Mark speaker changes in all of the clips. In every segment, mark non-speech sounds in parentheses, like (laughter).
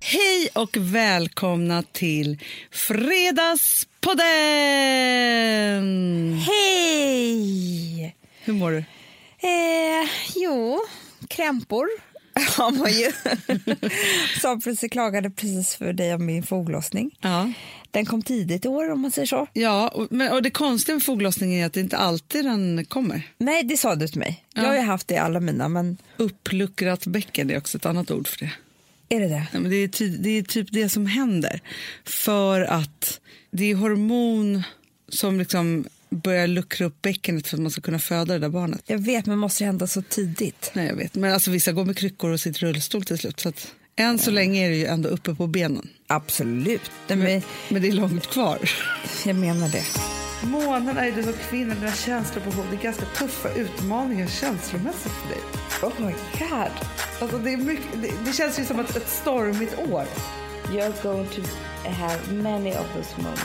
Speaker 1: Hej och välkomna till Fredagspodden!
Speaker 2: Hej!
Speaker 1: Hur mår du?
Speaker 2: Eh, jo, krämpor (laughs) har man ju. Som precis klagade precis för dig om min foglossning.
Speaker 1: Ja.
Speaker 2: Den kom tidigt i år om man säger så.
Speaker 1: Ja, och, men, och det konstiga med foglossning är att det inte alltid den kommer.
Speaker 2: Nej, det sa du till mig. Jag har ju haft det i alla mina, men
Speaker 1: Uppluckrat bäcken är också ett annat ord för det.
Speaker 2: är det det?
Speaker 1: Nej, men det, är ty- det är typ det som händer. För att det är hormon som liksom börjar luckra upp bäckenet för att man ska kunna föda det där barnet.
Speaker 2: Jag vet, men måste det hända så tidigt?
Speaker 1: Nej, jag vet. Men alltså, vissa går med kryckor och sitter i rullstol till slut. Så att, än så länge är det ju ändå uppe på benen.
Speaker 2: Absolut. Mm. Nej, men,
Speaker 1: Men det är långt kvar.
Speaker 2: jag menar det.
Speaker 1: Månen är ju det som kvinnan dina känslor på Det är ganska tuffa utmaningar känslomässigt för dig.
Speaker 2: Oh my god.
Speaker 1: Alltså, det, är mycket, det, det känns ju som ett, ett stormigt år.
Speaker 2: You're going to have many of those moments.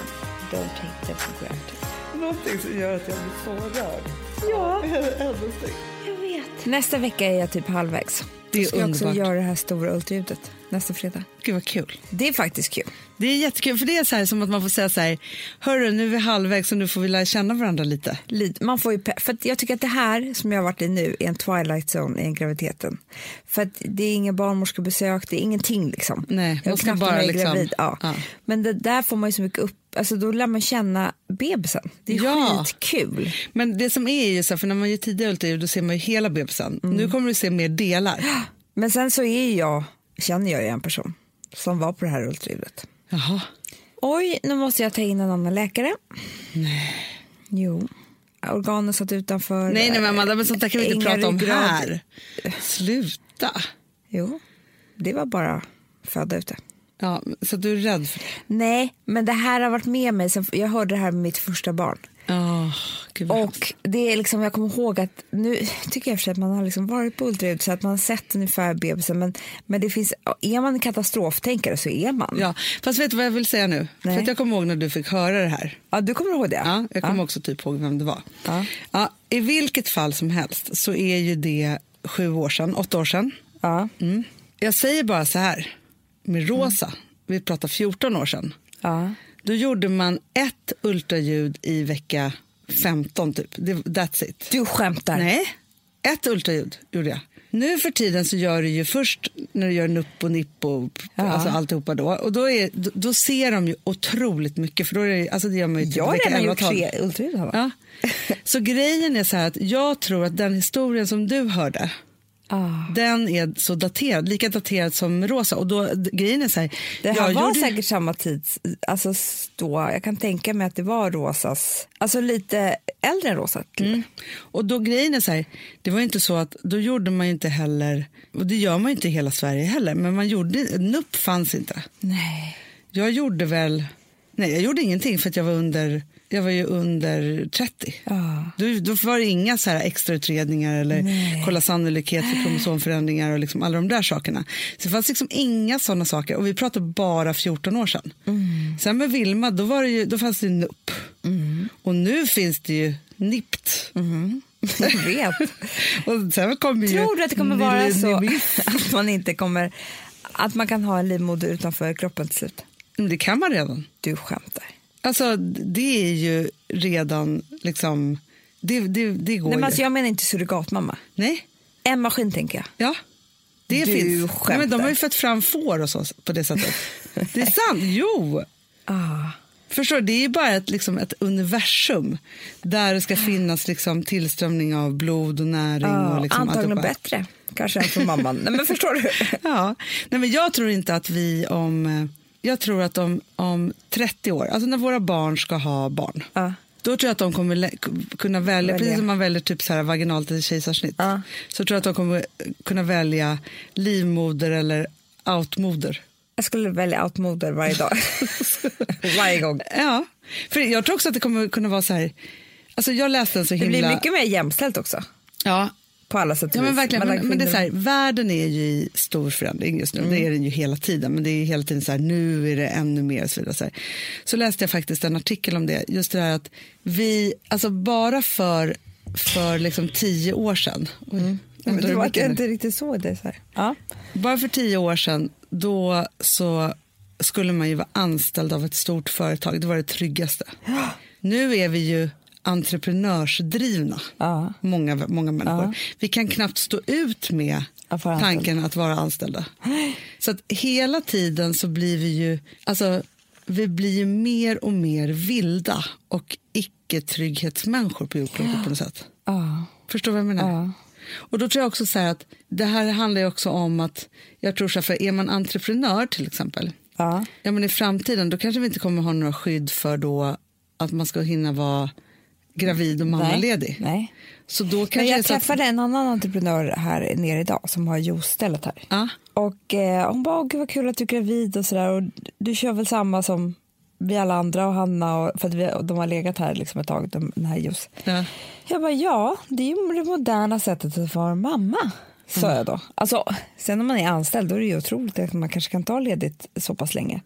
Speaker 2: Don't take them for granted.
Speaker 1: Någonting som gör att jag blir så rörd.
Speaker 2: Ja.
Speaker 1: Ännu snyggt.
Speaker 2: Jag vet. Nästa vecka är jag typ halvvägs.
Speaker 1: Det är
Speaker 2: Då ska jag
Speaker 1: underbart.
Speaker 2: också göra det här stora ultraljudet nästa fredag.
Speaker 1: (laughs) Gud vad kul.
Speaker 2: Det är faktiskt kul.
Speaker 1: Det är jättekul för det är så här som att man får säga så här. Hörru nu är vi halvvägs och nu får vi lära känna varandra lite.
Speaker 2: Lid- Man får ju pe- för att jag tycker att det här som jag har varit i nu är en twilight zone i graviditeten. För att det är inga barnmorskebesök, det är ingenting liksom.
Speaker 1: Nej,
Speaker 2: jag
Speaker 1: man
Speaker 2: vet
Speaker 1: ska
Speaker 2: knappt om
Speaker 1: bara
Speaker 2: jag är
Speaker 1: liksom-
Speaker 2: gravid. Ja.
Speaker 1: ja.
Speaker 2: Men det, där får man ju så mycket upp, alltså då lär man känna bebisen. Det är
Speaker 1: Ja.
Speaker 2: skitkul.
Speaker 1: Men det som är ju så här, för när man gör tidiga ultraljud då ser man ju hela bebisen. Nu kommer du se mer delar. (gasps)
Speaker 2: Men sen så är jag, känner jag ju en person som var på det här ultraljudet.
Speaker 1: Jaha.
Speaker 2: Oj, nu måste jag ta in en annan läkare. Nej. Jo. Organen satt utanför.
Speaker 1: Nej, nej men Amanda, men sånt där kan vi inte
Speaker 2: Inga
Speaker 1: prata om
Speaker 2: ryggrad.
Speaker 1: här. Sluta.
Speaker 2: Jo, det var bara föda ute.
Speaker 1: Ja, så du är rädd för det?
Speaker 2: Nej, men det här har varit med mig sen jag hörde det här med mitt första barn.
Speaker 1: Oh, gud vad hemskt.
Speaker 2: Och det är liksom, jag kommer ihåg att nu (laughs) tycker jag i och för sig att man har liksom varit på ultraljud så att man har sett ungefär bebisen. Men, men det finns, är man en katastroftänkare så är man.
Speaker 1: Ja, fast vet du vad jag vill säga nu?
Speaker 2: Nej.
Speaker 1: För att jag kommer ihåg när du fick höra det här.
Speaker 2: Ja, du kommer ihåg det?
Speaker 1: Ja, jag kommer också typ ihåg vem det var.
Speaker 2: Ja.
Speaker 1: Ja, I vilket fall som helst så är ju det sju år sedan, åtta år sedan.
Speaker 2: Ja.
Speaker 1: Mm. Jag säger bara så här, med Rosa, vi pratar 14 år sedan.
Speaker 2: ja.
Speaker 1: Då gjorde man ett ultraljud i vecka 15 typ, Det- that's it.
Speaker 2: Du skämtar?
Speaker 1: Nej, ett ultraljud gjorde jag. Nu för tiden så gör du ju först när du gör nupp och nipp och p-
Speaker 2: Ja.
Speaker 1: alltså alltihopa då. Och då, är, då, då ser de ju otroligt mycket för då är det, alltså det gör man ju typ
Speaker 2: Jag har
Speaker 1: vecka
Speaker 2: redan
Speaker 1: 11
Speaker 2: gjort
Speaker 1: och 12.
Speaker 2: tre ultraljud. Hanna.
Speaker 1: Ja. Så grejen är så här att jag tror att den historien som du hörde
Speaker 2: Ah.
Speaker 1: den är så daterad, lika daterad som Rosa. Och då, d- grejen är så här,
Speaker 2: Det här
Speaker 1: jag
Speaker 2: var
Speaker 1: gjorde-
Speaker 2: säkert samma tids, alltså då, jag kan tänka mig att det var Rosas, alltså lite äldre än Rosa. till och med.
Speaker 1: Mm. Och då grejen är så här, det var ju inte så att då gjorde man ju inte heller, och det gör man ju inte i hela Sverige heller, men man gjorde, NUP fanns inte.
Speaker 2: Nej.
Speaker 1: Jag gjorde väl, nej jag gjorde ingenting för att jag var under, jag var ju under 30.
Speaker 2: Ja.
Speaker 1: Då, då var det inga så här extra utredningar eller
Speaker 2: Nej.
Speaker 1: kolla sannolikhet för kromosomförändringar och liksom alla de där sakerna. Så det fanns liksom inga sådana saker och vi pratar bara 14 år sedan.
Speaker 2: Mm.
Speaker 1: Sen med Vilma då, var det ju, då fanns det ju NUP och nu finns det ju NIPT.
Speaker 2: Jag vet.
Speaker 1: (laughs) Och sen kommer ju
Speaker 2: Tror du att det kommer vara så
Speaker 1: millenim-
Speaker 2: (laughs) att man inte kommer, att man kan ha en livmoder utanför kroppen till slut?
Speaker 1: Men Det kan man redan.
Speaker 2: Du skämtar.
Speaker 1: Alltså det är ju redan liksom, det, det, det går
Speaker 2: Nej, men
Speaker 1: ju.
Speaker 2: alltså, jag menar inte surrogatmamma.
Speaker 1: Nej,
Speaker 2: En maskin tänker jag.
Speaker 1: ja. Det
Speaker 2: Du
Speaker 1: finns. Nej, men de
Speaker 2: skämtar.
Speaker 1: har ju fött fram får och så på det
Speaker 2: (laughs)
Speaker 1: sättet. det är sant. Jo!
Speaker 2: Ah.
Speaker 1: Förstår du? Det är ju bara ett, liksom, ett universum där
Speaker 2: Ah.
Speaker 1: det ska finnas liksom, tillströmning av blod och näring. och liksom,
Speaker 2: Ah, Antagligen
Speaker 1: alltihopa.
Speaker 2: bättre kanske än för mamman. Nej, men förstår du?
Speaker 1: (laughs) Ja, nej men jag tror inte att vi om, eh, jag tror att om, om 30 år, alltså när våra barn ska ha barn,
Speaker 2: Ja.
Speaker 1: då tror jag att de kommer lä- k- kunna välja,
Speaker 2: Välja.
Speaker 1: precis som man väljer typ så här vaginalt eller kejsarsnitt,
Speaker 2: Ja.
Speaker 1: så tror jag att de kommer kunna välja livmoder eller outmoder.
Speaker 2: Jag skulle välja outmoder varje
Speaker 1: (laughs)
Speaker 2: dag. varje gång.
Speaker 1: Ja, för jag tror också att det kommer kunna vara så här, alltså jag läste en så
Speaker 2: Det
Speaker 1: himla...
Speaker 2: blir mycket mer jämställt också.
Speaker 1: ja,
Speaker 2: På alla sätt och
Speaker 1: Ja, men
Speaker 2: vis.
Speaker 1: verkligen.
Speaker 2: Mellan
Speaker 1: Men, men det är
Speaker 2: kvinnor-
Speaker 1: så här, världen är ju i stor förändring just nu.
Speaker 2: Mm.
Speaker 1: Det är den ju hela tiden. Men det är hela tiden så här, nu är det ännu mer och så vidare. Så, här. så läste jag faktiskt en artikel om det. Just det här att vi, alltså bara för, för liksom tio år sedan. Oj, Undrar
Speaker 2: Mm. Men det
Speaker 1: hur
Speaker 2: var att
Speaker 1: mycket
Speaker 2: jag
Speaker 1: nu?
Speaker 2: inte riktigt såg det. Så här. Ja.
Speaker 1: Bara för tio år sedan, då så skulle man ju vara anställd av ett stort företag. Det var det tryggaste. Nu är vi ju entreprenörsdrivna,
Speaker 2: Ja.
Speaker 1: många, många människor. Vi kan knappt stå ut med
Speaker 2: Att vara anställd.
Speaker 1: tanken att vara anställda. Så att hela tiden så blir vi ju, alltså vi blir ju mer och mer vilda och icke-trygghetsmänniskor på jordklotet på något sätt.
Speaker 2: Ja.
Speaker 1: Förstår du vad jag menar? Och då tror jag också så här att det här handlar ju också om att jag tror så här, för är man entreprenör till exempel,
Speaker 2: Ja.
Speaker 1: ja men i framtiden då kanske vi inte kommer ha några skydd för då att man ska hinna vara gravid och mammaledig.
Speaker 2: Nej. Nej.
Speaker 1: Så då kanske
Speaker 2: Men
Speaker 1: det
Speaker 2: jag
Speaker 1: är så att,
Speaker 2: träffade en annan entreprenör här nere idag som har juicestället här.
Speaker 1: ja,
Speaker 2: Och eh, hon bara, åh gud vad kul att du är gravid och sådär. Och du kör väl samma som vi alla andra och Hanna, och, för att vi, de har legat här liksom ett tag, de, den här juice.
Speaker 1: ja.
Speaker 2: Jag bara, ja, det är ju det moderna sättet att vara mamma, sa jag då. Alltså, sen om man är anställd då är det ju otroligt att man kanske kan ta ledigt så pass länge.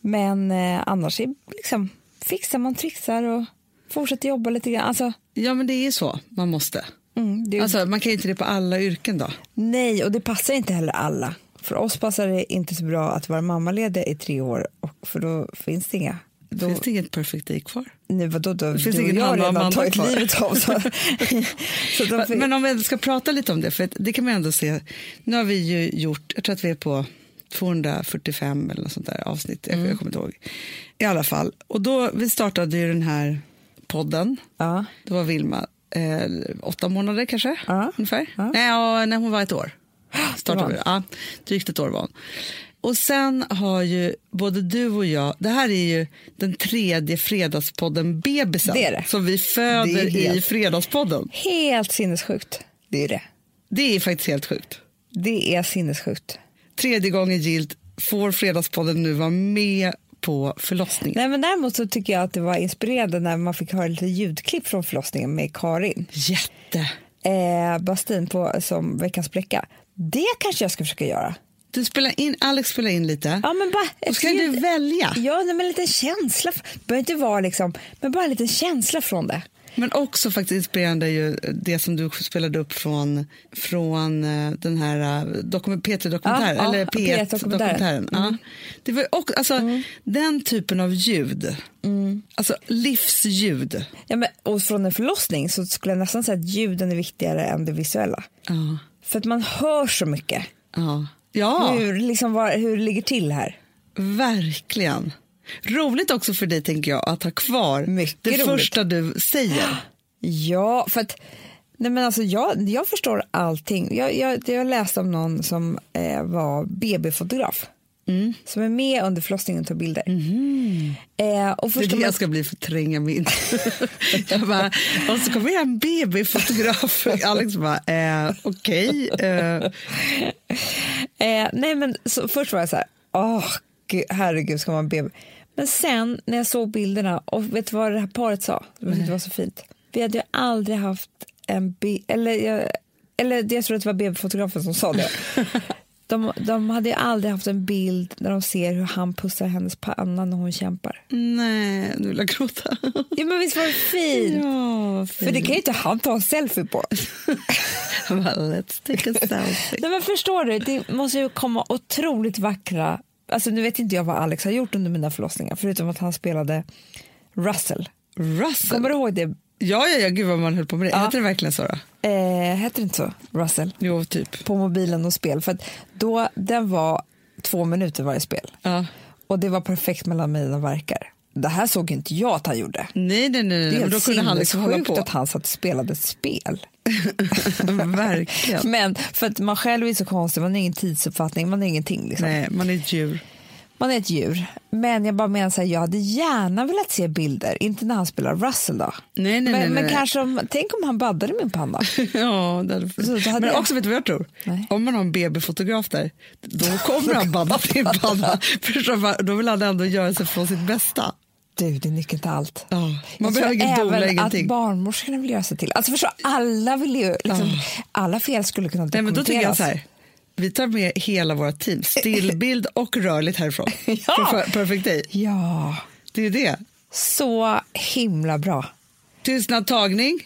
Speaker 2: Men eh, annars är, liksom, fixar man, trixar och fortsätter jobba lite grann. Alltså,
Speaker 1: ja men det är ju så man måste.
Speaker 2: mm, det är ju
Speaker 1: Alltså man kan ju inte det på alla yrken då.
Speaker 2: Nej, och det passar inte heller alla. För oss passar det inte så bra att vara mammaledig i tre år, och för då finns det inga. Då,
Speaker 1: Finns det inget perfect day kvar?
Speaker 2: nu, vadå, då,
Speaker 1: finns
Speaker 2: du och
Speaker 1: ingen
Speaker 2: jag har
Speaker 1: Hanna och
Speaker 2: redan
Speaker 1: Amanda
Speaker 2: tagit
Speaker 1: kvar. (laughs)
Speaker 2: livet av så. så de,
Speaker 1: Men- Men om vi ändå ska prata lite om det, för att det kan man ändå se. Nu har vi ju gjort, jag tror att vi är på 245 eller något sånt där avsnitt, jag-
Speaker 2: Mm.
Speaker 1: jag kommer inte ihåg. I alla fall, och då, vi startade ju den här podden,
Speaker 2: ja,
Speaker 1: då var Vilma eh, åtta månader kanske,
Speaker 2: Ja.
Speaker 1: ungefär.
Speaker 2: Ja.
Speaker 1: Nej, ja, när hon var ett år. Startade
Speaker 2: var
Speaker 1: vi. Ja, drygt ett år var hon. Och sen har ju både du och jag, det här är ju den tredje fredagspodden Bebisen
Speaker 2: Det är det.
Speaker 1: som vi
Speaker 2: Det
Speaker 1: föder
Speaker 2: är helt-
Speaker 1: i fredagspodden.
Speaker 2: helt sinnessjukt. Det är det.
Speaker 1: Det är faktiskt helt sjukt.
Speaker 2: Det är sinnessjukt.
Speaker 1: Tredje gången gilt får Fredagspodden nu vara med på förlossningen.
Speaker 2: Nej, men däremot så tycker jag att det var inspirerande när man fick höra lite ljudklipp från förlossningen med Karin
Speaker 1: Jätte!
Speaker 2: eh, Bastin på, som Veckans Bläcka. Det kanske jag ska försöka göra.
Speaker 1: Du spelar in, Alex spelar in lite.
Speaker 2: Ja, men bara
Speaker 1: Då
Speaker 2: ett
Speaker 1: ska du
Speaker 2: ljud-
Speaker 1: välja.
Speaker 2: Ja, nej, men en liten känsla. Det behöver inte vara liksom, men bara en liten känsla från det.
Speaker 1: Men också faktiskt inspirerande är ju det som du spelade upp från, från eh, den här dokument, P3-dokumentären,
Speaker 2: Ja, Mm. ja,
Speaker 1: eller P1-dokumentären.
Speaker 2: P1-dokumentären.
Speaker 1: Ja. Det var ju också, alltså,
Speaker 2: Mm.
Speaker 1: Den typen av ljud, alltså livsljud.
Speaker 2: Ja, men, och från en förlossning så skulle jag nästan säga att ljuden är viktigare än det visuella.
Speaker 1: Ja,
Speaker 2: För att man hör så mycket.
Speaker 1: ja. ja.
Speaker 2: Hur, liksom, var, hur det ligger till här.
Speaker 1: Verkligen. Roligt också för dig tänker jag att ha kvar
Speaker 2: Mycket
Speaker 1: det
Speaker 2: roligt. Ah,
Speaker 1: första du säger.
Speaker 2: Ja, för att nej, men alltså, jag, jag förstår allting. Jag, jag, jag läste om någon som eh, var BB-fotograf.
Speaker 1: Mm.
Speaker 2: Som är med under förlossningen och tar bilder. Eh, och
Speaker 1: Det är Mhm. det
Speaker 2: förstår man
Speaker 1: jag ska bli för tränga mig in. (laughs) jag bara, och så kommer jag en BB-fotograf. (laughs) Alex bara, eh, okej. eh,
Speaker 2: Eh, nej men så, först var jag så här, åh gud, herregud ska man be. Men sen när jag såg bilderna och vet du vad det här paret sa? Jag tyckte Det var så fint. Vi hade ju aldrig haft en be- eller, jag, eller det- jag tror att det var BB-fotografen som sa det. De, de hade ju aldrig haft en bild där de ser hur han pussar hennes panna när hon kämpar.
Speaker 1: nej, nu vill jag gråta.
Speaker 2: Ja men visst var det (laughs) fint?
Speaker 1: ja,
Speaker 2: För det kan ju inte han ta en selfie på.
Speaker 1: Jag bara, Let's take a selfie.
Speaker 2: Nej, men förstår du, det måste ju komma otroligt vackra... Alltså, nu vet inte jag vad Alex har gjort under mina förlossningar förutom att han spelade Russell.
Speaker 1: Russell.
Speaker 2: Kommer du ihåg det?
Speaker 1: Ja, ja, ja, gud vad man höll på med det.
Speaker 2: Ja.
Speaker 1: Heter det verkligen så då?
Speaker 2: Eh, hette det inte så? Russell?
Speaker 1: Jo, typ.
Speaker 2: På mobilen och spel. För att då, den var två minuter varje spel.
Speaker 1: Ja.
Speaker 2: Och det var perfekt mellan mina verkar. Det här såg ju inte jag att han gjorde.
Speaker 1: Nej, nej, nej, nej.
Speaker 2: Det
Speaker 1: men
Speaker 2: är
Speaker 1: då
Speaker 2: helt
Speaker 1: kunde han liksom hålla
Speaker 2: sinnessjukt
Speaker 1: på.
Speaker 2: att han satt och spelade spel.
Speaker 1: (laughs) verkligen.
Speaker 2: Men för att man själv är så konstig, man har ingen tidsuppfattning, man har ingenting. Liksom.
Speaker 1: Nej, man är ett djur.
Speaker 2: Man är ett djur. Men jag bara menar så här, jag hade gärna velat se bilder. Inte när han spelar Russell då.
Speaker 1: Nej, nej,
Speaker 2: men
Speaker 1: nej,
Speaker 2: men
Speaker 1: nej.
Speaker 2: kanske om, tänk om han baddade
Speaker 1: (laughs)
Speaker 2: min panna.
Speaker 1: Ja, det hade...
Speaker 2: Så då hade
Speaker 1: men
Speaker 2: jag-
Speaker 1: också vet du vad jag tror?
Speaker 2: Nej.
Speaker 1: Om man har en BB-fotograf där, då kommer han
Speaker 2: (laughs)
Speaker 1: badda till panna. Förstår du vad? Då vill han ändå göra sig från sitt bästa.
Speaker 2: Du, det är nyckeln till allt.
Speaker 1: Ja, man
Speaker 2: jag
Speaker 1: behöver
Speaker 2: tror
Speaker 1: ingen dola,
Speaker 2: även
Speaker 1: ingenting.
Speaker 2: att barnmorskorna vill göra sig till. Alltså förstå, alla vill ju, liksom, alla fel skulle kunna
Speaker 1: Nej, men då tycker jag
Speaker 2: dokumenteras.
Speaker 1: så här. Vi tar med hela vårt team,
Speaker 2: (laughs)
Speaker 1: stillbild och rörligt härifrån.
Speaker 2: Ja.
Speaker 1: För- Perfect day.
Speaker 2: Ja,
Speaker 1: Det är ju det.
Speaker 2: så himla bra.
Speaker 1: Tystnad, tagning.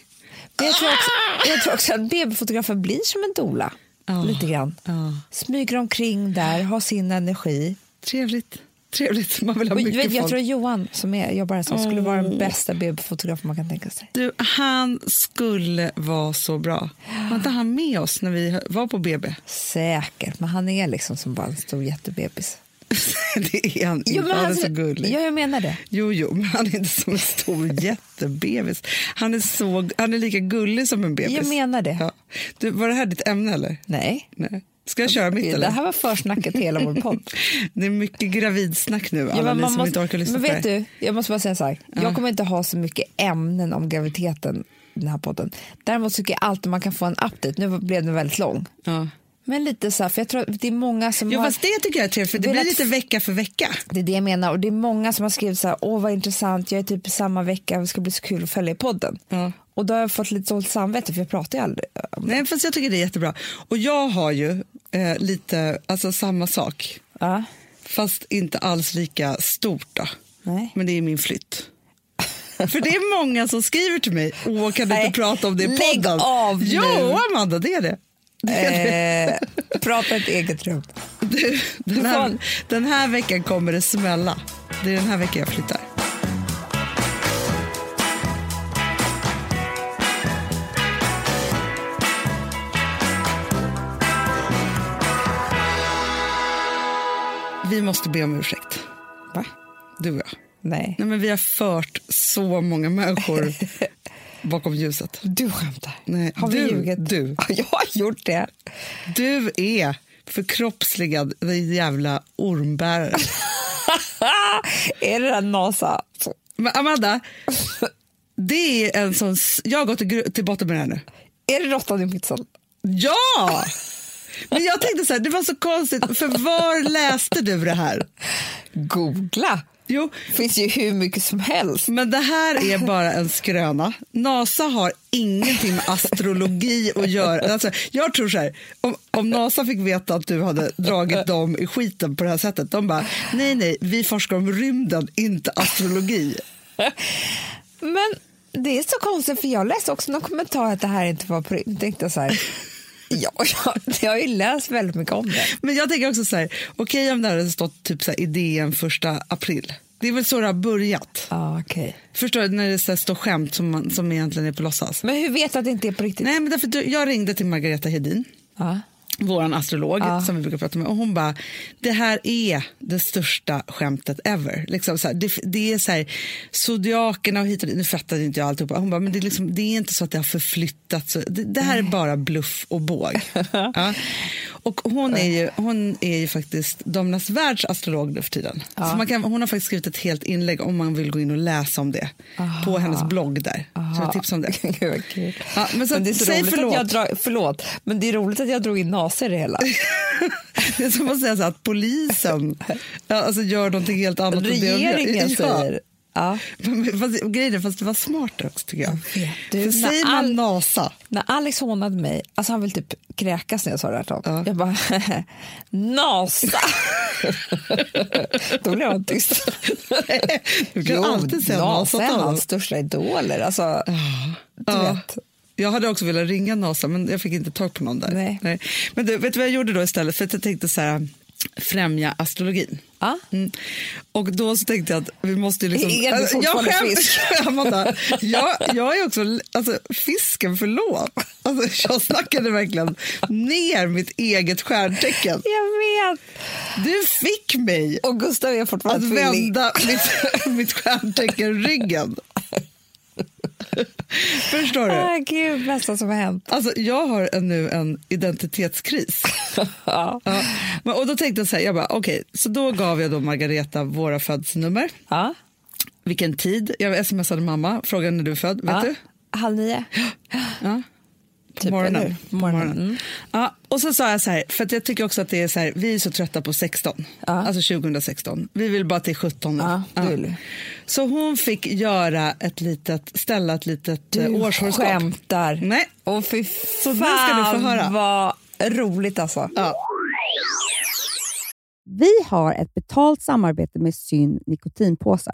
Speaker 2: Jag tror också, jag tror också att babyfotografer blir som en dola.
Speaker 1: Ja.
Speaker 2: Lite grann.
Speaker 1: Ja.
Speaker 2: Smyger omkring där, har sin energi.
Speaker 1: Trevligt. Trevligt. Man vill ha
Speaker 2: Och,
Speaker 1: mycket
Speaker 2: jag, vet,
Speaker 1: folk.
Speaker 2: jag tror Johan som är, jobbar här som skulle vara den bästa babyfotografen man kan tänka sig.
Speaker 1: Du, han skulle vara så bra. Var inte han med oss när vi var på BB?
Speaker 2: Säkert, men han är liksom som bara en stor jättebebis.
Speaker 1: (laughs) det är han inte.
Speaker 2: men
Speaker 1: han är
Speaker 2: alltså-
Speaker 1: så gullig.
Speaker 2: Ja, jag menar det.
Speaker 1: Jo, jo, men han är inte som en stor (laughs) jättebebis. Han är, så, han är lika gullig som en bebis.
Speaker 2: Jag menar det.
Speaker 1: Ja. Du, var det här ditt ämne eller?
Speaker 2: Nej.
Speaker 1: Nej. Ska jag köra mitt
Speaker 2: Det
Speaker 1: eller?
Speaker 2: här var försnacket till hela vår (laughs) podd.
Speaker 1: Det är mycket gravidsnack nu, alla
Speaker 2: Ja, men
Speaker 1: ni
Speaker 2: man
Speaker 1: som
Speaker 2: måste-
Speaker 1: inte orkar lyssna
Speaker 2: men
Speaker 1: på
Speaker 2: vet
Speaker 1: det. här.
Speaker 2: du, jag måste bara säga så här. Jag kommer inte ha så mycket ämnen om graviditeten i den här podden. Däremot tycker jag alltid man kan få en update. Nu blev den väldigt lång.
Speaker 1: Ja.
Speaker 2: Men lite så här, för jag tror att det är många som
Speaker 1: Jo,
Speaker 2: har...
Speaker 1: fast det tycker jag är trevligt, för det
Speaker 2: Vill
Speaker 1: blir
Speaker 2: att-
Speaker 1: lite vecka för vecka.
Speaker 2: Det är det jag menar. Och det är många som har skrivit så här, åh vad intressant, jag är typ i samma vecka, det ska bli så kul att följa i podden.
Speaker 1: Ja.
Speaker 2: Och då har jag fått lite dåligt samvete för jag pratar ju aldrig. om-
Speaker 1: Nej, fast jag tycker det är jättebra. Och jag har ju eh, lite, alltså samma sak,
Speaker 2: Ja.
Speaker 1: fast inte alls lika stort då.
Speaker 2: Nej.
Speaker 1: Men det är min flytt. (laughs) För det är många som skriver till mig, åh kan du
Speaker 2: Nej,
Speaker 1: inte prata om det i
Speaker 2: lägg
Speaker 1: podden?
Speaker 2: av
Speaker 1: Jo,
Speaker 2: nu.
Speaker 1: Amanda, det är det. det, är det.
Speaker 2: Eh, prata ett eget rum.
Speaker 1: Du, den, här,
Speaker 2: Fan.
Speaker 1: den här veckan kommer det smälla. Det är den här veckan jag flyttar. Vi måste be om ursäkt,
Speaker 2: Va?
Speaker 1: du och jag.
Speaker 2: Nej.
Speaker 1: Nej, men vi har fört så många människor bakom ljuset.
Speaker 2: Du skämtar.
Speaker 1: Nej,
Speaker 2: har
Speaker 1: du-
Speaker 2: vi ljugit?
Speaker 1: du.
Speaker 2: (laughs) Ja, Jag har gjort det.
Speaker 1: Du är förkroppsligad din jävla ormbärare.
Speaker 2: är det där NASA?
Speaker 1: Men Amanda, det är en sån... s- Jag har gått till gru- till botten med det här nu.
Speaker 2: Är det råttan i pizzan?
Speaker 1: Ja! Men jag tänkte så här, det var så konstigt, för var läste du det här?
Speaker 2: Googla.
Speaker 1: Jo,
Speaker 2: finns ju hur mycket som helst.
Speaker 1: men det här är bara en skröna. NASA har ingenting med astrologi att göra. Alltså, jag tror så här, om, om NASA fick veta att du hade dragit dem i skiten på det här sättet, de bara, nej, nej, vi forskar om rymden, inte astrologi.
Speaker 2: Men det är så konstigt, för jag läste också någon kommentar att det här inte var på riktigt. Tänkte jag
Speaker 1: (laughs)
Speaker 2: så här, ja, jag, jag har ju läst väldigt mycket om det.
Speaker 1: Men jag tänker också så här, okej om det här hade stått typ så här, i DN första april. Det är väl så det har börjat.
Speaker 2: Ah, okay.
Speaker 1: Förstår du, när det så här, står skämt som, man, som egentligen är på låtsas.
Speaker 2: Men hur vet du att det inte är på riktigt?
Speaker 1: Nej, men därför, du- jag ringde till Margareta Hedin,
Speaker 2: Ja.
Speaker 1: vår astrolog
Speaker 2: Ja.
Speaker 1: som vi brukar prata med, och hon bara, det här är det största skämtet ever. Liksom så här, det, det är så här, zodiakerna och hit och dit, nu fattade inte jag alltihopa. Hon bara, men det är, liksom, det är inte så att det har förflyttats. Det, det här är bara bluff och båg. ja. Och hon är, ju, hon är ju faktiskt Domnas världs astrolog nu för tiden. Så man kan, hon har faktiskt skrivit ett helt inlägg om man vill gå in och läsa om det på hennes blogg där. Så jag tipsar om det.
Speaker 2: (laughs) Gud, vad kul.
Speaker 1: Ja, men så,
Speaker 2: Men det är så
Speaker 1: säg
Speaker 2: roligt
Speaker 1: förlåt.
Speaker 2: Att jag drar, förlåt, men det är roligt att jag drog in NASA i
Speaker 1: (laughs)
Speaker 2: det hela.
Speaker 1: Det är som att säga så här, att polisen ja, alltså, gör någonting helt annat. än det de gör.
Speaker 2: Regeringen
Speaker 1: (laughs) Ja.
Speaker 2: säger... Ja.
Speaker 1: Men- Fast, grejen är, fast det var smart också tycker jag.
Speaker 2: Jag vet. Du,
Speaker 1: För
Speaker 2: när
Speaker 1: säger man
Speaker 2: all-
Speaker 1: NASA, (laughs)
Speaker 2: När Alex hånade mig, alltså han ville typ kräkas när jag sa det här till honom. Jag bara, (laughs) NASA!
Speaker 1: (laughs)
Speaker 2: (laughs) Då blev han tyst.
Speaker 1: du kan alltid säga NASA.
Speaker 2: NASA är
Speaker 1: till honom.
Speaker 2: hans största idoler. Alltså, du
Speaker 1: Ja.
Speaker 2: vet.
Speaker 1: Jag hade också velat ringa NASA, men jag fick inte tag på någon där.
Speaker 2: Nej.
Speaker 1: Men du, vet du vad jag gjorde då istället? För att jag tänkte så här, främja astrologin.
Speaker 2: Ja.
Speaker 1: Mm. Och då så tänkte jag att vi måste ju liksom...
Speaker 2: Är du fortfarande
Speaker 1: jag (laughs)
Speaker 2: fisk?
Speaker 1: Amanda, jag, jag är också... Alltså, fisken, förlåt. Alltså, jag snackade verkligen ner mitt eget stjärntecken.
Speaker 2: Jag vet!
Speaker 1: Du fick mig
Speaker 2: Och Gustav är
Speaker 1: att
Speaker 2: fortfarande tvilling.
Speaker 1: vända mitt, (laughs) mitt stjärntecken
Speaker 2: (laughs)
Speaker 1: ryggen. Förstår du?
Speaker 2: Ah, Gud, bästa som har hänt.
Speaker 1: Alltså, jag har en, nu en identitetskris.
Speaker 2: (laughs) Ja.
Speaker 1: Ja. Men, och då tänkte jag så här, jag bara, okej, så då gav jag då Margareta våra födelsenummer,
Speaker 2: Ja.
Speaker 1: vilken tid, jag smsade mamma, frågade när du är född, vet
Speaker 2: Ja.
Speaker 1: du?
Speaker 2: Halv nio.
Speaker 1: Ja. På
Speaker 2: Typ,
Speaker 1: morgonen.
Speaker 2: eller?
Speaker 1: På
Speaker 2: Morgonen, Mm.
Speaker 1: morgonen. Mm. Ja, och så sa jag så här, för att jag tycker också att det är så här, vi är så trötta på 16, alltså 2016. Vi vill bara till 17 nu.
Speaker 2: Ja, det vill vi.
Speaker 1: Så hon fick göra ett litet, ställa ett litet eh,
Speaker 2: Du
Speaker 1: årshoroskop.
Speaker 2: skämtar.
Speaker 1: Nej.
Speaker 2: Och fy
Speaker 1: nu ska du få höra.
Speaker 2: fan vad roligt alltså.
Speaker 3: Vi har ett betalt samarbete med Syn nikotinpåsar.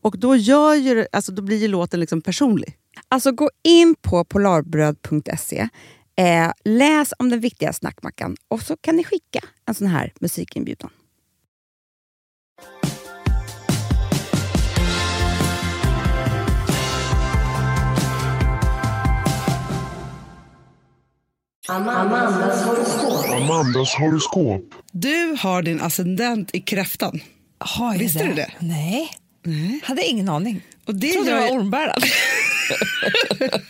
Speaker 4: Och då, gör ju, det- alltså, då blir ju låten liksom personlig.
Speaker 3: Alltså gå in på polarbröd.se, eh, läs om den viktiga snackmackan och så kan ni skicka en sån här musikinbjudan.
Speaker 5: Amandas horoskop.
Speaker 1: Du har din ascendent i kräftan.
Speaker 2: Har jag
Speaker 1: Visste du det?
Speaker 2: Nej. Hade ingen aning.
Speaker 1: Och det
Speaker 2: Jag trodde
Speaker 1: gör
Speaker 2: det
Speaker 1: ju-
Speaker 2: var ormbären.
Speaker 1: (laughs)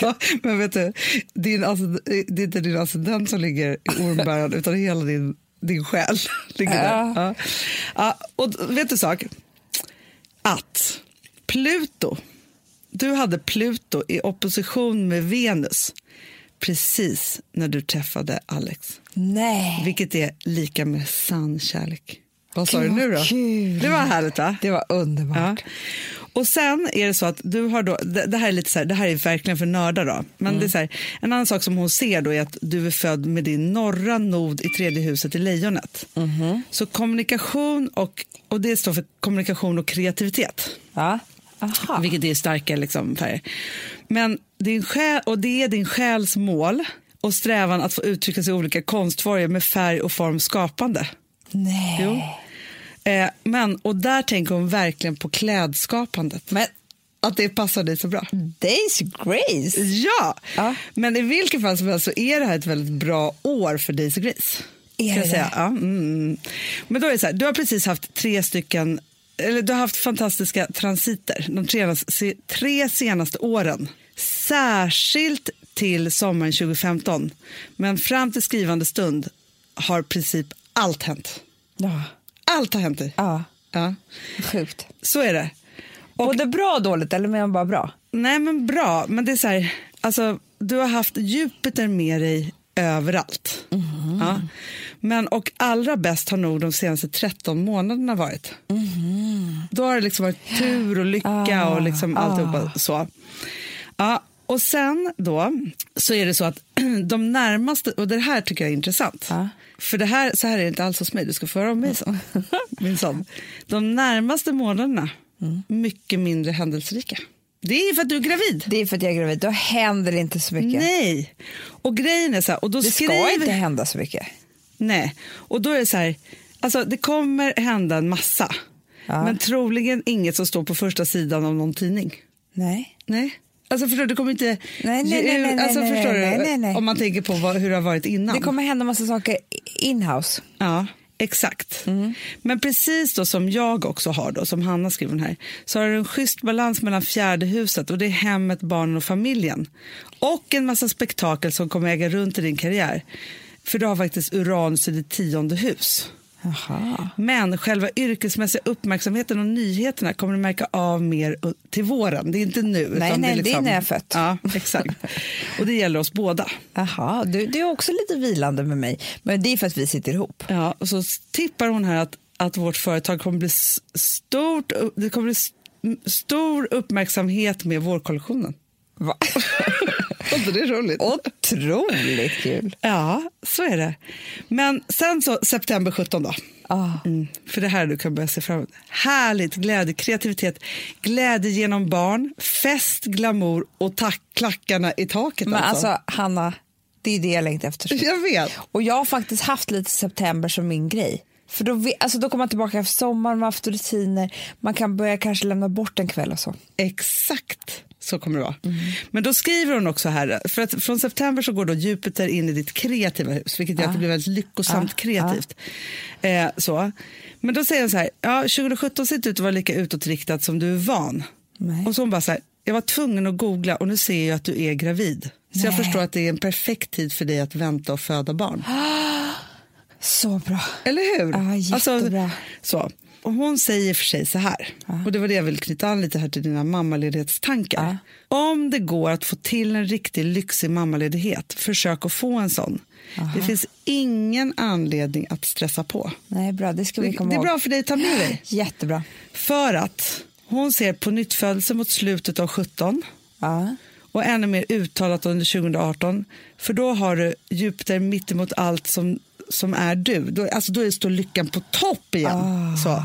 Speaker 1: Ja, men vet du, din, ascend- det är inte din ascendent som ligger i ormbäran utan hela din, din (laughs) själ ligger där. Ja. Ja, och vet du sak? Att Pluto. Du hade Pluto i opposition med Venus precis när du träffade Alex,
Speaker 2: Nej.
Speaker 1: vilket är lika med sann kärlek. Vad sa du nu då? Det var härligt va?
Speaker 2: Det var underbart.
Speaker 1: Ja. Och sen är det så att du har då, det, det här är lite så här, det här är verkligen för nördar då, men
Speaker 2: Mm.
Speaker 1: det är så här, en annan sak som hon ser då är att du är född med din norra nod i tredje huset i lejonet.
Speaker 2: Mhm.
Speaker 1: Så kommunikation och, och det står för kommunikation och kreativitet.
Speaker 2: Ja. Aha.
Speaker 1: Vilket är starka liksom, färger. Men din själ, och det är din själs mål och strävan att få uttrycka sig i olika konstformer med färg och form skapande.
Speaker 2: Nej.
Speaker 1: Jo. Eh, men, och där tänker hon verkligen på klädskapandet. Men att det passar dig så bra.
Speaker 2: Days Grace.
Speaker 1: Ja!
Speaker 2: Ja.
Speaker 1: men i vilket fall som helst så är det här ett väldigt bra år för Daisy Grace.
Speaker 2: Är
Speaker 1: Ska
Speaker 2: det
Speaker 1: jag säga. Ja, mm. Men då är det så här, du har precis haft tre stycken, eller du har haft fantastiska transiter de tre, se- tre senaste åren. Särskilt till sommaren 2015, men fram till skrivande stund har i princip allt hänt.
Speaker 2: Ja.
Speaker 1: Allt har hänt dig.
Speaker 2: ja.
Speaker 1: Ja,
Speaker 2: Sjukt.
Speaker 1: så är det.
Speaker 2: Både bra och dåligt, eller menar man bara bra?
Speaker 1: Nej, men bra. Men det är så här, alltså, du har haft Jupiter med dig överallt. Ja. Men, och allra bäst har nog de senaste 13 månaderna varit. Då har det liksom varit tur och lycka och liksom alltihopa så. Ja, och sen då så är det så att (clears throat) de närmaste, och det här tycker jag är intressant. För det här, så här är det inte alls hos mig, du ska få höra om mig sen. Min son. De närmaste månaderna, mycket mindre händelserika. Det är för att du är gravid.
Speaker 2: Det är för att jag är gravid, då händer det inte så mycket.
Speaker 1: Nej, och grejen är så här, och då
Speaker 2: det ska
Speaker 1: skriver...
Speaker 2: inte hända så mycket.
Speaker 1: Nej, och då är det så här, alltså det kommer hända en massa.
Speaker 2: Ja.
Speaker 1: Men troligen inget som står på första sidan av någon tidning.
Speaker 2: Nej.
Speaker 1: Nej. Alltså förstår du, det kommer inte...
Speaker 2: nej,
Speaker 1: ge
Speaker 2: nej,
Speaker 1: ut-
Speaker 2: nej, nej,
Speaker 1: alltså,
Speaker 2: nej,
Speaker 1: förstår
Speaker 2: nej,
Speaker 1: du?
Speaker 2: nej, nej.
Speaker 1: Om man tänker på vad, hur det har varit innan.
Speaker 2: Det kommer hända massa saker inhouse.
Speaker 1: Ja, exakt.
Speaker 2: Mm.
Speaker 1: Men precis då som jag också har, då, som Hanna skriver här, så har du en schysst balans mellan fjärde huset och det är hemmet, barnen och familjen. Och en massa spektakel som kommer äga runt i din karriär. För du har faktiskt Uranus i ditt tionde hus.
Speaker 2: Jaha.
Speaker 1: Men själva yrkesmässiga uppmärksamheten och nyheterna kommer du märka av mer u- till våren. Det är inte nu.
Speaker 2: Nej,
Speaker 1: utan
Speaker 2: nej,
Speaker 1: det är,
Speaker 2: det är
Speaker 1: liksom...
Speaker 2: när jag är född.
Speaker 1: Ja,
Speaker 2: (laughs)
Speaker 1: exakt. Och det gäller oss båda.
Speaker 2: Jaha, du, du är också lite vilande med mig, men det är för att vi sitter ihop.
Speaker 1: Ja, och så tippar hon här att, att vårt företag kommer bli s- stort, det kommer bli s- m- stor uppmärksamhet med vårkollektionen.
Speaker 2: Va? (laughs) Alltså,
Speaker 1: Och det är roligt.
Speaker 2: Otroligt kul.
Speaker 1: Ja, så är det. Men sen så september 17 då.
Speaker 2: Ah.
Speaker 1: Mm, för det här du kan börja se fram emot. Härligt, glädje, kreativitet, glädje genom barn, fest, glamour och tack, klackarna i taket.
Speaker 2: Men
Speaker 1: alltså.
Speaker 2: alltså, Hanna, det är det jag längtar (laughs)
Speaker 1: (laughs)
Speaker 2: efter.
Speaker 1: Jag vet.
Speaker 2: Och jag har faktiskt haft lite september som min grej. För då, vi- alltså, då kommer man tillbaka efter sommaren, man har haft rutiner, man kan börja kanske lämna bort en kväll och så.
Speaker 1: Exakt så kommer det vara. Men då skriver hon också här, för att från september så går då Jupiter in i ditt kreativa hus, vilket gör
Speaker 2: Ah.
Speaker 1: att det blir väldigt lyckosamt kreativt. Eh, så. Men då säger hon så här, ja, 2017 ser inte ut att vara lika utåtriktad som du är van.
Speaker 2: Nej.
Speaker 1: Och så hon bara så här, jag var tvungen att googla och nu ser jag att du är gravid. Så jag
Speaker 2: Nej.
Speaker 1: förstår att det är en perfekt tid för dig att vänta och föda barn.
Speaker 2: Så bra.
Speaker 1: Eller hur? Alltså,
Speaker 2: Ja, Ah, jättebra. Ah.
Speaker 1: så. Och hon säger för sig så här, och det var det jag ville knyta an lite här till dina mammaledighetstankar.
Speaker 2: Ah.
Speaker 1: Om det går att få till en riktig lyxig mammaledighet, försök att få en sån. Det finns ingen anledning att stressa på.
Speaker 2: Nej, bra, det ska
Speaker 1: Det,
Speaker 2: vi komma
Speaker 1: det är
Speaker 2: ihåg.
Speaker 1: bra för dig att ta med dig.
Speaker 2: Jättebra.
Speaker 1: För att hon ser på nytt födelse mot slutet av 17
Speaker 2: Ja.
Speaker 1: och ännu mer uttalat under 2018. För då har du Jupiter mittemot allt som, som är du. Då, alltså då står lyckan på topp igen.
Speaker 2: Ah.
Speaker 1: Så.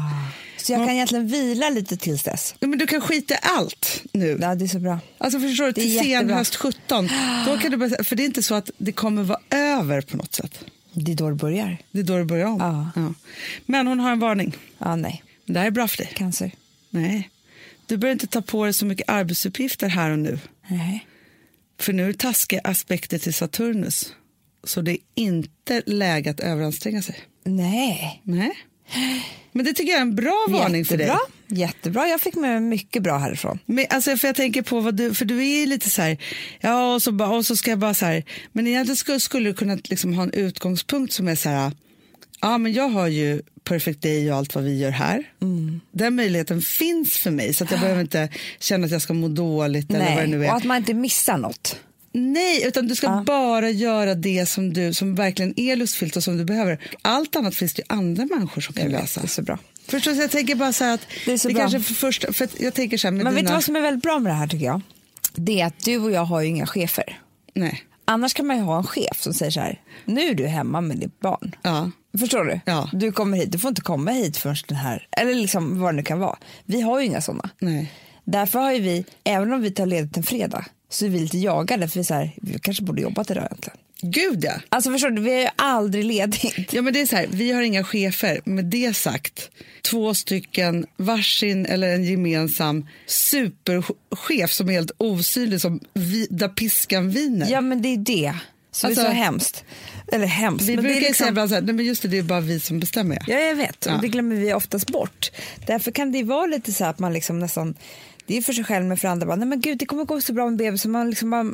Speaker 2: Så jag kan egentligen vila lite tills dess.
Speaker 1: Ja, men du kan skita i allt nu.
Speaker 2: Ja, det är så bra.
Speaker 1: Alltså förstår du,
Speaker 2: Det är
Speaker 1: till sen
Speaker 2: jättebra.
Speaker 1: höst 17. Då kan du börja, för det är inte så att det kommer vara över på något sätt.
Speaker 2: Det är då det börjar.
Speaker 1: Det är då det börjar om.
Speaker 2: Ja.
Speaker 1: Men hon har en varning.
Speaker 2: Ja, nej.
Speaker 1: Det här är bra för dig.
Speaker 2: Cancer.
Speaker 1: Nej. Du behöver inte ta på dig så mycket arbetsuppgifter här och nu.
Speaker 2: Nej.
Speaker 1: För nu är det taskiga aspekter till Saturnus. Så det är inte läge att överanstränga sig.
Speaker 2: Nej.
Speaker 1: Nej. Men det tycker jag är en bra varning för dig.
Speaker 2: Jättebra. Jättebra. Jag fick med mig mycket bra härifrån.
Speaker 1: Men, alltså, för jag tänker på vad du, för du är ju lite så här, ja och så, bara- och så ska jag bara så här, men egentligen skulle, skulle du kunna liksom ha en utgångspunkt som är så här, Ja, men jag har ju Perfect Day och allt vad vi gör här.
Speaker 2: Mm.
Speaker 1: Den möjligheten finns för mig så att jag behöver inte känna att jag ska må dåligt eller vad det nu
Speaker 2: Ah. Nej.
Speaker 1: är.
Speaker 2: Och att man inte missar något.
Speaker 1: Nej, utan du ska bara göra det som du som verkligen är lustfyllt och som du behöver. Allt annat finns det ju andra människor som kan lösa.
Speaker 2: Det är så bra.
Speaker 1: Förstår du? Så Jag tänker bara så här att
Speaker 2: Det är så
Speaker 1: vi
Speaker 2: bra.
Speaker 1: kanske för första, för att jag tänker så här med
Speaker 2: Men vet
Speaker 1: dina...
Speaker 2: du vad som är väldigt bra med det här tycker jag? Det är att du och jag har ju inga chefer.
Speaker 1: Nej,
Speaker 2: Annars kan man ju ha en chef som säger så här, nu är du hemma med ditt barn.
Speaker 1: ja.
Speaker 2: Förstår du?
Speaker 1: Ja.
Speaker 2: Du kommer hit, du får inte komma hit förrän den här, eller liksom vad det nu kan vara. Vi har ju inga sådana.
Speaker 1: Nej.
Speaker 2: Därför har ju vi, även om vi tar ledigt en fredag, så är vi lite jagade för vi är så här, vi kanske borde jobbat idag egentligen.
Speaker 1: Gud ja.
Speaker 2: Alltså förstår du, vi är ju aldrig ledigt.
Speaker 1: Ja, men det är så här, vi har inga chefer. Med det sagt, två stycken varsin eller en gemensam superchef som är helt osynlig, som vi, där piskan viner.
Speaker 2: Ja men det är det som
Speaker 1: Alltså-
Speaker 2: är så hemskt. Eller hemskt.
Speaker 1: vi
Speaker 2: men
Speaker 1: brukar
Speaker 2: det är
Speaker 1: säga
Speaker 2: liksom,
Speaker 1: ibland så här, nej men just det, det är bara vi som bestämmer. Ja.
Speaker 2: Ja jag vet,
Speaker 1: Ja.
Speaker 2: och det glömmer vi oftast bort. Därför kan det ju vara lite så här att man liksom nästan det är för sig själv men för andra bara, nej men gud det kommer gå så bra med bebisen, man liksom bara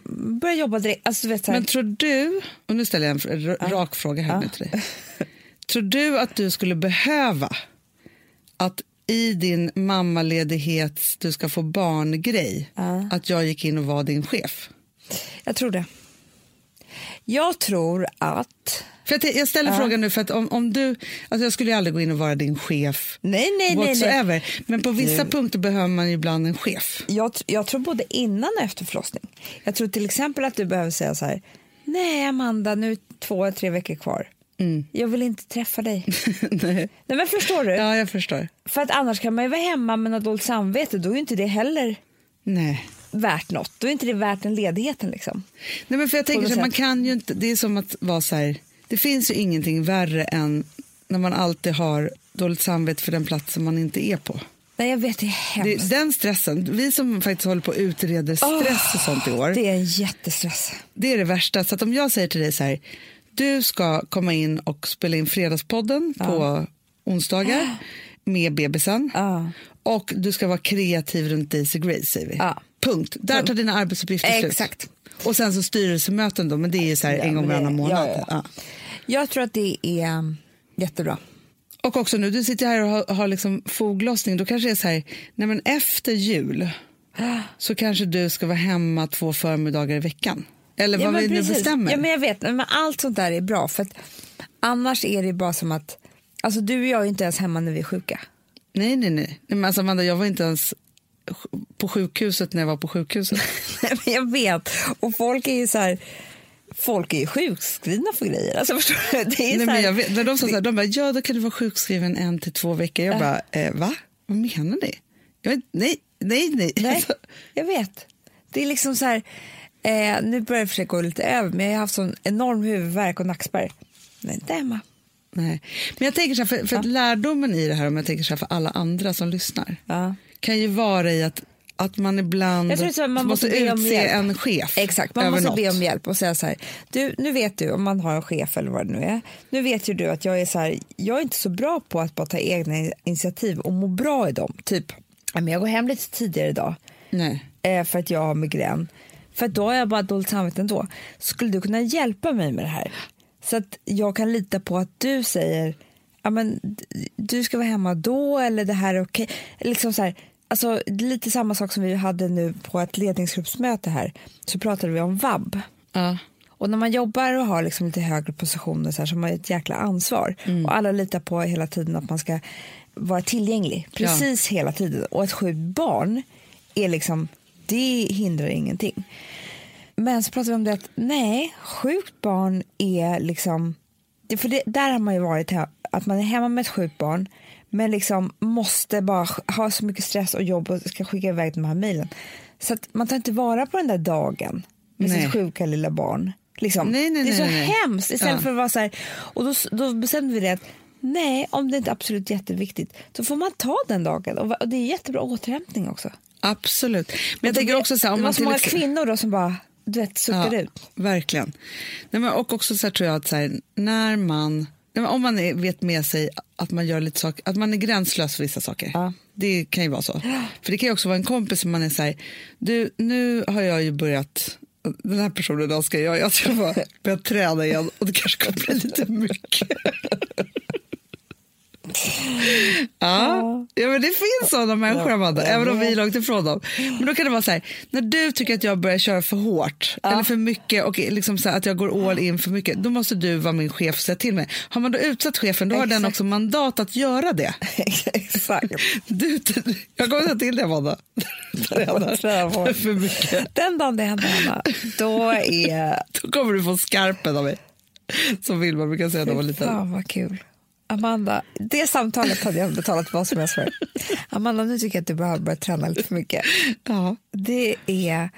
Speaker 2: börjar jobba direkt. Alltså du vet så här,
Speaker 1: Men tror du, och nu ställer jag en fr- r- rak fråga här nu till dig. (laughs) Tror du att du skulle behöva att i din mammaledighets du ska få barn-grej, att jag gick in och var din chef?
Speaker 2: jag tror det. Jag tror att,
Speaker 1: För jag, te- jag ställer frågan nu för att om, om du, alltså jag skulle ju aldrig gå in och vara din chef
Speaker 2: nej nej nej, nej.
Speaker 1: whatsoever, men på vissa punkter behöver man ju ibland en chef. (laughs)
Speaker 2: Jag, tr- jag tror både innan och efter förlossning. Jag tror till exempel att du behöver säga så här, nej Amanda nu är två, tre veckor kvar.
Speaker 1: Mm.
Speaker 2: Jag vill inte
Speaker 1: (laughs)
Speaker 2: träffa dig.
Speaker 1: Nej.
Speaker 2: nej men förstår du?
Speaker 1: Ja, jag förstår.
Speaker 2: För att annars kan man ju vara hemma med något dåligt samvete, då är ju inte det heller
Speaker 1: Nej.
Speaker 2: värt något. Då är inte det värt den ledigheten. Liksom.
Speaker 1: Nej, men för jag tänker
Speaker 2: något
Speaker 1: så här, man
Speaker 2: sätt.
Speaker 1: kan ju inte, det är som att vara så här, det finns ju ingenting värre än när man alltid har dåligt samvete för den platsen man inte är på.
Speaker 2: Nej, jag vet, det är hemskt.
Speaker 1: Det, den stressen, vi som faktiskt håller på och utreder stress och sånt i år,
Speaker 2: Det, är en jättestress.
Speaker 1: det är det värsta. Så att om jag säger till dig så här, du ska komma in och spela in Fredagspodden på onsdagar med bebisen
Speaker 2: Ja.
Speaker 1: och du ska vara kreativ runt Daisy Grace säger vi.
Speaker 2: Ja.
Speaker 1: Punkt. Där tar dina arbetsuppgifter
Speaker 2: Exakt.
Speaker 1: slut. Och sen så styrelsemöten då, men det är ju så här en gång
Speaker 2: men det-
Speaker 1: varannan månad.
Speaker 2: ja, ja, ja.
Speaker 1: Ja.
Speaker 2: Jag tror att det är um, jättebra.
Speaker 1: Och också nu, du sitter här och har, har liksom foglossning, då kanske det är så här, nej men efter jul så kanske du ska vara hemma två förmiddagar i veckan. Eller vad
Speaker 2: men
Speaker 1: vi nu
Speaker 2: precis.
Speaker 1: bestämmer.
Speaker 2: Ja, men jag vet, men allt sånt där är bra. För att annars är det bara som att alltså, du och jag är ju inte ens hemma när vi är sjuka. (laughs)
Speaker 1: Nej, nej, nej. nej men alltså Amanda, jag var inte ens sj- på sjukhuset när jag var på sjukhuset.
Speaker 2: Nej, men jag vet, och folk är ju så här... Folk är ju sjukskrivna för grejer. Alltså, förstår du? (laughs) Det är
Speaker 1: nej,
Speaker 2: så här,
Speaker 1: men jag vet, när de sa så här, de bara, ja då kan du vara sjukskriven en till två veckor. Jag bara, eh, va? Vad menar ni? Jag, vet- nej, nej, nej. (laughs)
Speaker 2: Nej, jag vet. Det är liksom så här, eh, nu börjar det för sig gå lite över, men jag har haft sån enorm huvudvärk och nackspärr. Men inte hemma.
Speaker 1: Nej. Men jag tänker så här, för, för att lärdomen i det här, om jag tänker så här för alla andra som lyssnar,
Speaker 2: Ja.
Speaker 1: kan ju vara i att, att man ibland
Speaker 2: Jag tror så här, man måste be om
Speaker 1: utse
Speaker 2: hjälp.
Speaker 1: en chef.
Speaker 2: Exakt, man
Speaker 1: över
Speaker 2: måste
Speaker 1: något.
Speaker 2: be om hjälp och säga så här, du, nu vet du om man har en chef eller vad det nu är, nu vet ju du att jag är så här, jag är inte så bra på att bara ta egna in- initiativ och må bra i dem. Typ, ja, men jag går hem lite tidigare idag
Speaker 1: Nej.
Speaker 2: eh, för att jag har migrän, för att då har jag bara dåligt samvete ändå. Skulle du kunna hjälpa mig med det här? Så att jag kan lita på att du säger, ja men d- du ska vara hemma då eller det här är okej. Liksom så här, alltså lite samma sak som vi hade nu på ett ledningsgruppsmöte här, så pratade vi om vab.
Speaker 1: Ja.
Speaker 2: Och när man jobbar och har liksom lite högre positioner så, här, så har man ju ett jäkla ansvar. Och alla litar på hela tiden att man ska vara tillgänglig. Precis hela tiden. Och ett sjukt barn är liksom, det hindrar ingenting. Men så pratar vi om det att nej, sjukt barn är liksom, det- för det, där har man ju varit, he- att man är hemma med ett sjukt barn men liksom måste bara sk- ha så mycket stress och jobb och ska skicka iväg de här mejlen. Så att man tar inte vara på den där dagen med
Speaker 1: Nej.
Speaker 2: sitt sjuka lilla barn. Liksom.
Speaker 1: Nej, nej,
Speaker 2: det är
Speaker 1: nej,
Speaker 2: så
Speaker 1: nej.
Speaker 2: hemskt istället
Speaker 1: Ja.
Speaker 2: för att vara så här, och då, då bestämde vi det att nej, om det inte är absolut jätteviktigt, då får man ta den dagen och, va- och det är jättebra återhämtning också.
Speaker 1: Absolut. Men jag tänker också så här, om
Speaker 2: det var
Speaker 1: man
Speaker 2: så
Speaker 1: till
Speaker 2: många
Speaker 1: exempel-
Speaker 2: kvinnor då som bara, du vet, suckade ut.
Speaker 1: Verkligen. Nej, men, och också så här, tror jag att så här, när man, nej, men om man är, vet med sig att man gör lite saker, att man är gränslös för vissa saker.
Speaker 2: Ja.
Speaker 1: Det kan ju vara så. För det kan ju också vara en kompis som man är så här, du, nu har jag ju börjat den här personen (laughs) idag ska jag, jag ska bara börja träna igen och det kanske kommer bli lite mycket. Ja. ja, men det finns sådana människor, Amanda, även om vi är långt ifrån dem. Men då kan det vara så här, när du tycker att jag börjar köra för hårt eller för mycket och liksom så här, att jag går all in för mycket, då måste du vara min chef och säga till mig. Har man då utsatt chefen, då har den också mandat att göra det. (laughs)
Speaker 2: Exakt.
Speaker 1: Du, jag kommer säga till dig, Amanda.
Speaker 2: Tränar hårt.
Speaker 1: för mycket.
Speaker 2: Den dagen det händer, Hanna, då är...
Speaker 1: Då kommer du få skarpen av mig. Som Wilma brukar säga när man var liten.
Speaker 2: Fan vad kul. Amanda, det samtalet hade jag betalat vad som helst för. Amanda, nu tycker jag att du behöver börja träna lite för mycket.
Speaker 1: Ja.
Speaker 2: Det är...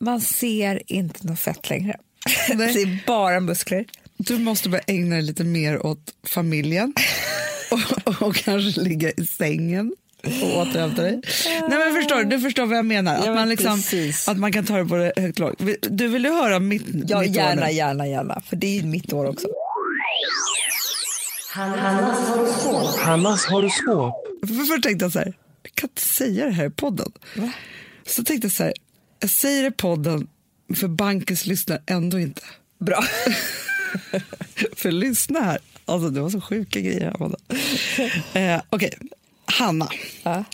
Speaker 2: Man ser inte något fett längre. (laughs) Det är bara muskler.
Speaker 1: Du måste börja ägna dig lite mer åt
Speaker 2: (laughs)
Speaker 1: familjen och, och, och kanske ligga i sängen och återhämta dig. Nej, men förstår, du? du förstår vad jag menar, att,
Speaker 2: Ja, men
Speaker 1: man liksom,
Speaker 2: precis.
Speaker 1: att man kan ta det både högt och lågt. Vi- Du vill ju höra mitt,
Speaker 2: Ja,
Speaker 1: mitt år
Speaker 2: gärna,
Speaker 1: nu.
Speaker 2: gärna, gärna. För det är ju mitt år också.
Speaker 5: Hannas horoskop.
Speaker 1: För Först tänkte jag så här, jag kan inte säga det här i podden. Så tänkte jag så här, jag säger det i podden för bankens lyssnar ändå inte.
Speaker 2: Bra.
Speaker 1: (laughs) För lyssna här, alltså det var så sjuka grejer Amanda. Eh, Okej, Hanna.
Speaker 2: Ja.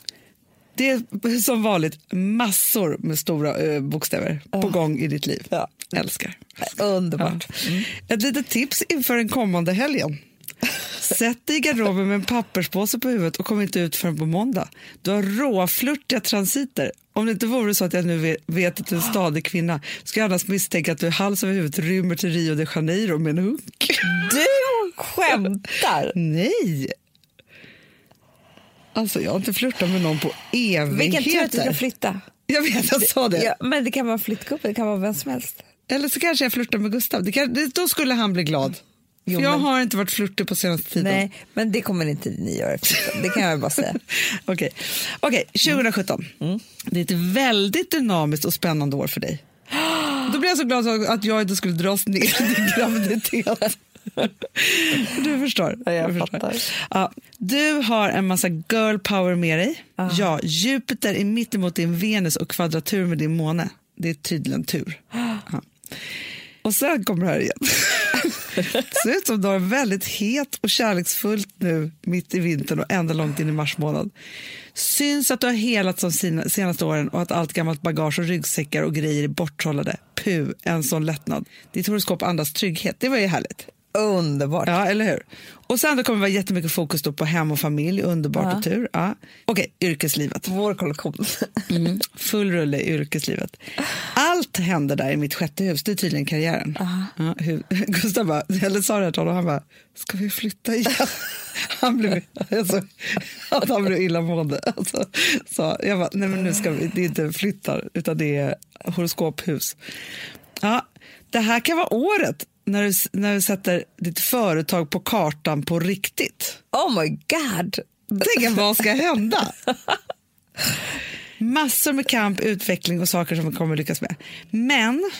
Speaker 1: Det är som vanligt massor med stora eh, bokstäver på gång i ditt liv.
Speaker 2: Ja.
Speaker 1: Älskar.
Speaker 2: Underbart.
Speaker 1: Mm. Ett litet tips inför den kommande helgen. Sätt dig i garderoben med en papperspåse på huvudet och kom inte ut förrän på måndag. Du har råflörtiga transiter. Om det inte vore så att jag nu ve- vet att du är en stadig kvinna skulle jag annars misstänka att du hals över huvud rymmer till Rio de Janeiro med en hunk.
Speaker 2: Du skämtar!
Speaker 1: Nej! Alltså jag har inte flörtat med någon på
Speaker 2: Vilken tur att du ska
Speaker 1: evigheter.
Speaker 2: flytta.
Speaker 1: Jag vet, jag sa det.
Speaker 2: Ja, men det kan vara flyttgubbe, det kan vara vem som helst.
Speaker 1: Eller så kanske jag flörtar med Gustav. Det kan, det, då skulle han bli glad.
Speaker 2: Jo,
Speaker 1: För jag
Speaker 2: men-
Speaker 1: har inte varit flörtig på senaste tiden.
Speaker 2: Nej, men det kommer inte ni göra. efter. Det kan jag
Speaker 1: (laughs)
Speaker 2: bara säga.
Speaker 1: Okej, Okej, 2017.
Speaker 2: Mm.
Speaker 1: Det är ett väldigt dynamiskt och spännande år för dig. (gasps) Då blev jag så glad så att jag inte skulle dras ner till graviditet. (laughs) Du förstår.
Speaker 2: Ja, jag
Speaker 1: du,
Speaker 2: fattar.
Speaker 1: Ja, du har en massa girl power med dig. Ja, Jupiter är mittemot din Venus och kvadratur med din måne. Det är tydligen
Speaker 2: (gasps)
Speaker 1: tur. Ja. Och sen kommer det här igen. (laughs) Det ser ut som du har en väldigt het och kärleksfullt nu mitt i vintern och ända långt in i mars månad. Syns att du har helat som sina, senaste åren och att allt gammalt bagage och ryggsäckar och grejer är borttrollade. Puh, en sån lättnad. Ditt horoskop andas trygghet. Det var ju härligt.
Speaker 2: Underbart.
Speaker 1: Ja, eller hur? Och sen då kommer det vara jättemycket fokus då på hem och familj, underbart och tur. Ja. Okej, yrkeslivet. Mm. (laughs)
Speaker 2: Vår kollektion.
Speaker 1: Full rulle i yrkeslivet. Allt händer där i mitt sjätte hus, det är tydligen karriären. Ja, hur, (laughs) Gustav bara, eller sa det här till honom, han bara, ska vi flytta igen? (laughs) Han blev, alltså, (laughs) att han blev illamående. Alltså, så jag bara, nej men nu ska vi, det är inte flyttar, utan det är horoskophus. Ja, det här kan vara året när du, när du sätter ditt företag på kartan på riktigt.
Speaker 2: Oh my god!
Speaker 1: Tänk vad ska hända? Massor med kamp, utveckling och saker som vi kommer lyckas med. Men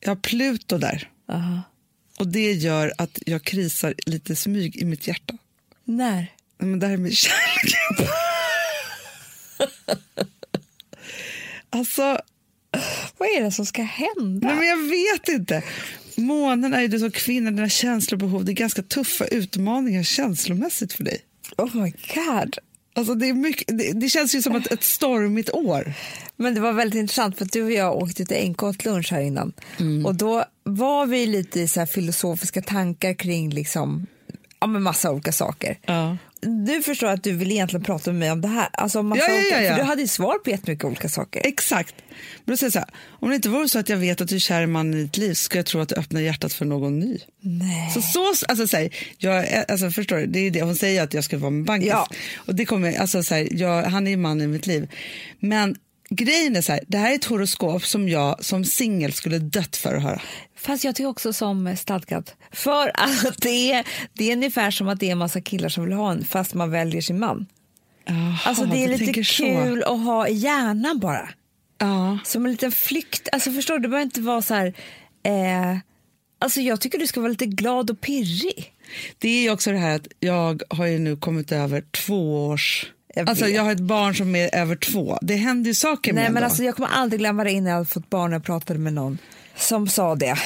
Speaker 1: jag har Pluto där. Och det gör att jag krisar lite smyg i mitt hjärta.
Speaker 2: När?
Speaker 1: Men det här med kärleken. alltså,
Speaker 2: Vad är det som ska hända?
Speaker 1: nej men jag vet inte. Månen är ju du som kvinna, dina känslor och behov. Det är ganska tuffa utmaningar känslomässigt för dig.
Speaker 2: Oh my god!
Speaker 1: Alltså det, är mycket, det, det känns ju som ett, ett stormigt år.
Speaker 2: Men det var väldigt intressant för att du och jag åkte till NK åt lunch här innan
Speaker 1: Mm.
Speaker 2: och då var vi lite i så här filosofiska tankar kring liksom, ja, men massa olika saker.
Speaker 1: Ja.
Speaker 2: Nu förstår jag att du vill egentligen prata med mig om det här. Alltså om massa
Speaker 1: Ja, ja,
Speaker 2: olika,
Speaker 1: ja, ja.
Speaker 2: För du hade ju svar på jättemycket olika saker.
Speaker 1: Exakt. Men då säger jag så här, om det inte vore så att jag vet att du är kär i mannen i ditt liv skulle jag tro att du öppnar hjärtat för någon ny.
Speaker 2: Nej.
Speaker 1: Så, så alltså, så här, jag, alltså förstår du, det är ju det hon säger att jag ska vara med bankis.
Speaker 2: Ja.
Speaker 1: Och det kommer, alltså så här, jag, han är ju mannen i mitt liv. Men grejen är så här, det här är ett horoskop som jag som singel skulle dött för att höra.
Speaker 2: Fast jag tycker också som stadgat. För att det är, det är ungefär som att det är en massa killar som vill ha en fast man väljer sin man. Alltså
Speaker 1: Jaha,
Speaker 2: det är
Speaker 1: du
Speaker 2: lite
Speaker 1: tänker så.
Speaker 2: kul att ha i hjärnan bara.
Speaker 1: Ja.
Speaker 2: Som en liten flykt. Alltså förstår du, det behöver inte vara så här. Eh, alltså jag tycker du ska vara lite glad och pirrig.
Speaker 1: Det är ju också det här att jag har ju nu kommit över två års...
Speaker 2: Jag
Speaker 1: alltså
Speaker 2: vet.
Speaker 1: jag har ett barn som är över två. Det händer ju saker med
Speaker 2: Nej
Speaker 1: en
Speaker 2: men
Speaker 1: då.
Speaker 2: alltså jag kommer aldrig glömma det innan jag hade fått barn och jag pratade med någon som sa det.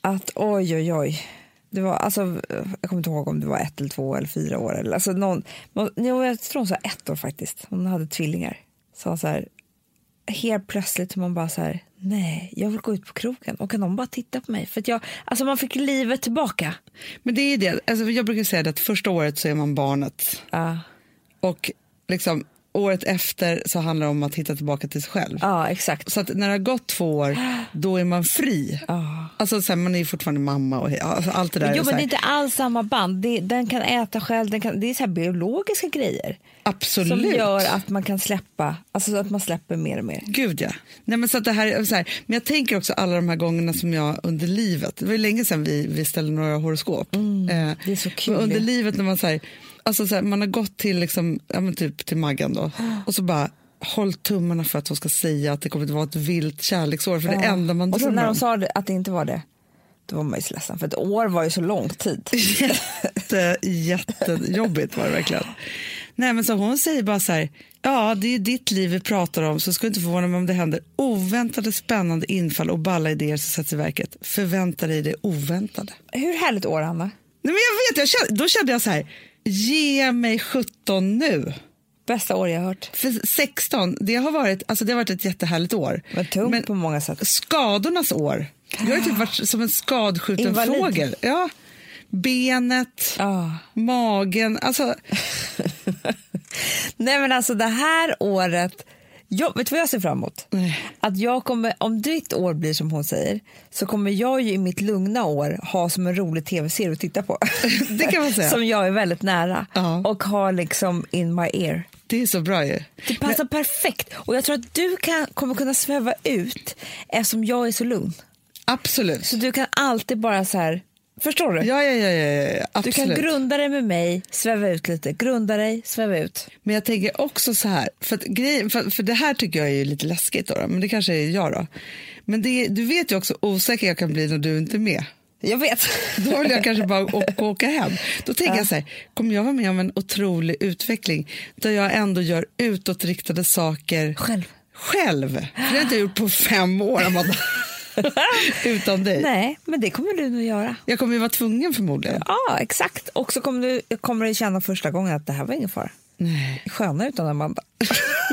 Speaker 2: Att oj oj oj. Det var, alltså, jag kommer inte ihåg om det var ett eller två eller fyra år. Eller, alltså någon, någon, jag tror hon sa ett år faktiskt. Hon hade tvillingar. Så hon så här, helt plötsligt man bara så här, nej, jag vill gå ut på krogen och kan de bara titta på mig? För att jag, alltså man fick livet tillbaka.
Speaker 1: Men det är det. Alltså, jag brukar säga det att första året så är man barnet.
Speaker 2: Ja,
Speaker 1: Och liksom, året efter så handlar det om att hitta tillbaka till sig själv.
Speaker 2: ja exakt.
Speaker 1: Så att när det har gått två år, då är man fri. Alltså, så här, man är ju fortfarande mamma och he- alltså, allt det där. är
Speaker 2: Jo,
Speaker 1: så
Speaker 2: men
Speaker 1: här,
Speaker 2: det är inte alls samma band. Det, den kan äta själv, den kan, det är så här biologiska grejer.
Speaker 1: Absolut.
Speaker 2: Som gör att man kan släppa, alltså så att man släpper mer och mer.
Speaker 1: Gud ja. Nej, men, så att det här, är så här, men jag tänker också alla de här gångerna som jag under livet, det var ju länge sedan vi, vi ställde några horoskop. Eh,
Speaker 2: Mm, det är så kul
Speaker 1: men Under
Speaker 2: det.
Speaker 1: livet när man så här, alltså så här, man har gått till, liksom, ja, men typ till Maggan då och så bara håll tummarna för att hon ska säga att det kommer att vara ett vilt kärleksår för det
Speaker 2: Ja.
Speaker 1: enda man
Speaker 2: Och sen
Speaker 1: drömmer
Speaker 2: när
Speaker 1: om.
Speaker 2: de sa det, att det inte var det, då var man ju så ledsen. För ett år var ju så lång tid.
Speaker 1: Jätte, jättejobbigt var det verkligen. Nej, men så hon säger bara så här, ja det är ju ditt liv vi pratar om så ska du inte förvåna mig om det händer oväntade spännande infall och balla idéer som sätts i verket. Förvänta dig det oväntade.
Speaker 2: Hur härligt år, Anna?
Speaker 1: Nej, men jag vet, jag kände, då kände jag så här, ge mig 17 nu.
Speaker 2: Bästa år jag har hört.
Speaker 1: För 16, det har varit, alltså det har varit ett jättehärligt år.
Speaker 2: Men tungt på många sätt. (laughs)
Speaker 1: Skadornas år. Jag har ju typ varit som en skadskjuten
Speaker 2: Invalid. Ah.
Speaker 1: fågel. Ja. Benet,
Speaker 2: Ja.
Speaker 1: magen, alltså
Speaker 2: Nej men alltså det här året, jag, vet du vad jag ser fram emot?
Speaker 1: Nej.
Speaker 2: Att jag kommer, om ditt år blir som hon säger, så kommer jag ju i mitt lugna år ha som en rolig tv-serie att titta på.
Speaker 1: (laughs) Det kan man säga.
Speaker 2: (laughs) Som jag är väldigt nära
Speaker 1: Ja.
Speaker 2: och har liksom in my ear.
Speaker 1: Det är så bra ju.
Speaker 2: Det passar perfekt och jag tror att du kan, kommer kunna sväva ut eftersom jag är så lugn.
Speaker 1: Absolut.
Speaker 2: Så du kan alltid bara så här, förstår du?
Speaker 1: Ja, ja, ja, ja, ja.
Speaker 2: du
Speaker 1: absolut.
Speaker 2: kan grunda dig med mig, sväva ut lite, grunda dig, sväva ut.
Speaker 1: Men jag tänker också så här, för, att grej, för, för det här tycker jag är ju lite läskigt då, då, men det kanske är jag då. Men det, du vet ju också hur osäker jag kan bli när du inte är med.
Speaker 2: Jag (laughs) vet.
Speaker 1: Då vill jag kanske bara å- å- åka hem. Då tänker jag så här, kommer jag vara med om en otrolig utveckling där jag ändå gör utåtriktade saker
Speaker 2: Själv.
Speaker 1: Själv. För det har jag inte gjort på fem år,
Speaker 2: (laughs)
Speaker 1: Amanda. Utan dig.
Speaker 2: Nej, men det kommer du nog göra.
Speaker 1: Jag kommer ju vara tvungen förmodligen.
Speaker 2: Ja, exakt. Och så kommer du, kommer du känna första gången att det här var ingen fara.
Speaker 1: Nej.
Speaker 2: Sköna utan Amanda.
Speaker 1: (laughs)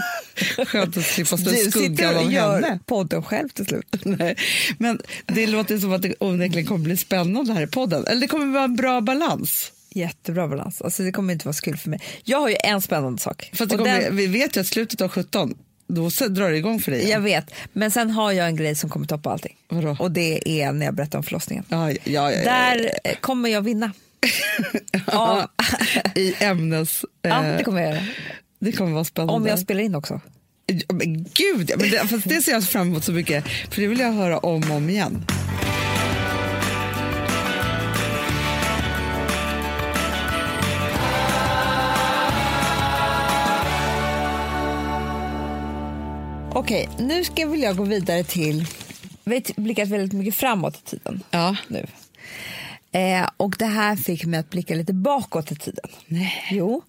Speaker 1: Skönt att slippa stå i
Speaker 2: Du
Speaker 1: skuggan
Speaker 2: sitter
Speaker 1: av
Speaker 2: och gör
Speaker 1: henne.
Speaker 2: podden själv till slut.
Speaker 1: (laughs) Nej, men det låter som att det onekligen kommer bli spännande här i podden. Eller det kommer vara en bra balans.
Speaker 2: Jättebra balans. Alltså, det kommer inte vara så kul för mig. Jag har ju en spännande sak.
Speaker 1: För att det
Speaker 2: Och
Speaker 1: kommer,
Speaker 2: den,
Speaker 1: Vi vet ju att slutet av 17, då se- drar det igång för dig.
Speaker 2: jag
Speaker 1: igen.
Speaker 2: vet, men sen har jag en grej som kommer toppa allting.
Speaker 1: Vadå?
Speaker 2: Och det är när jag berättar om förlossningen.
Speaker 1: Ja, ja, ja, ja,
Speaker 2: Där eh, kommer jag (laughs) vinna. ja,
Speaker 1: (laughs) I ämnes...
Speaker 2: ja,
Speaker 1: eh,
Speaker 2: det kommer jag göra.
Speaker 1: det kommer vara spännande.
Speaker 2: Om jag spelar in också.
Speaker 1: Ja, Men gud, ja, men det, fast det ser jag fram emot så mycket. För det vill jag höra om och om igen.
Speaker 2: Okej, nu ska, vill jag gå vidare till... Vi har blickat väldigt mycket framåt i tiden.
Speaker 1: Ja.
Speaker 2: Nu. Eh, och det här fick mig att blicka lite bakåt i tiden. Nej. Jo,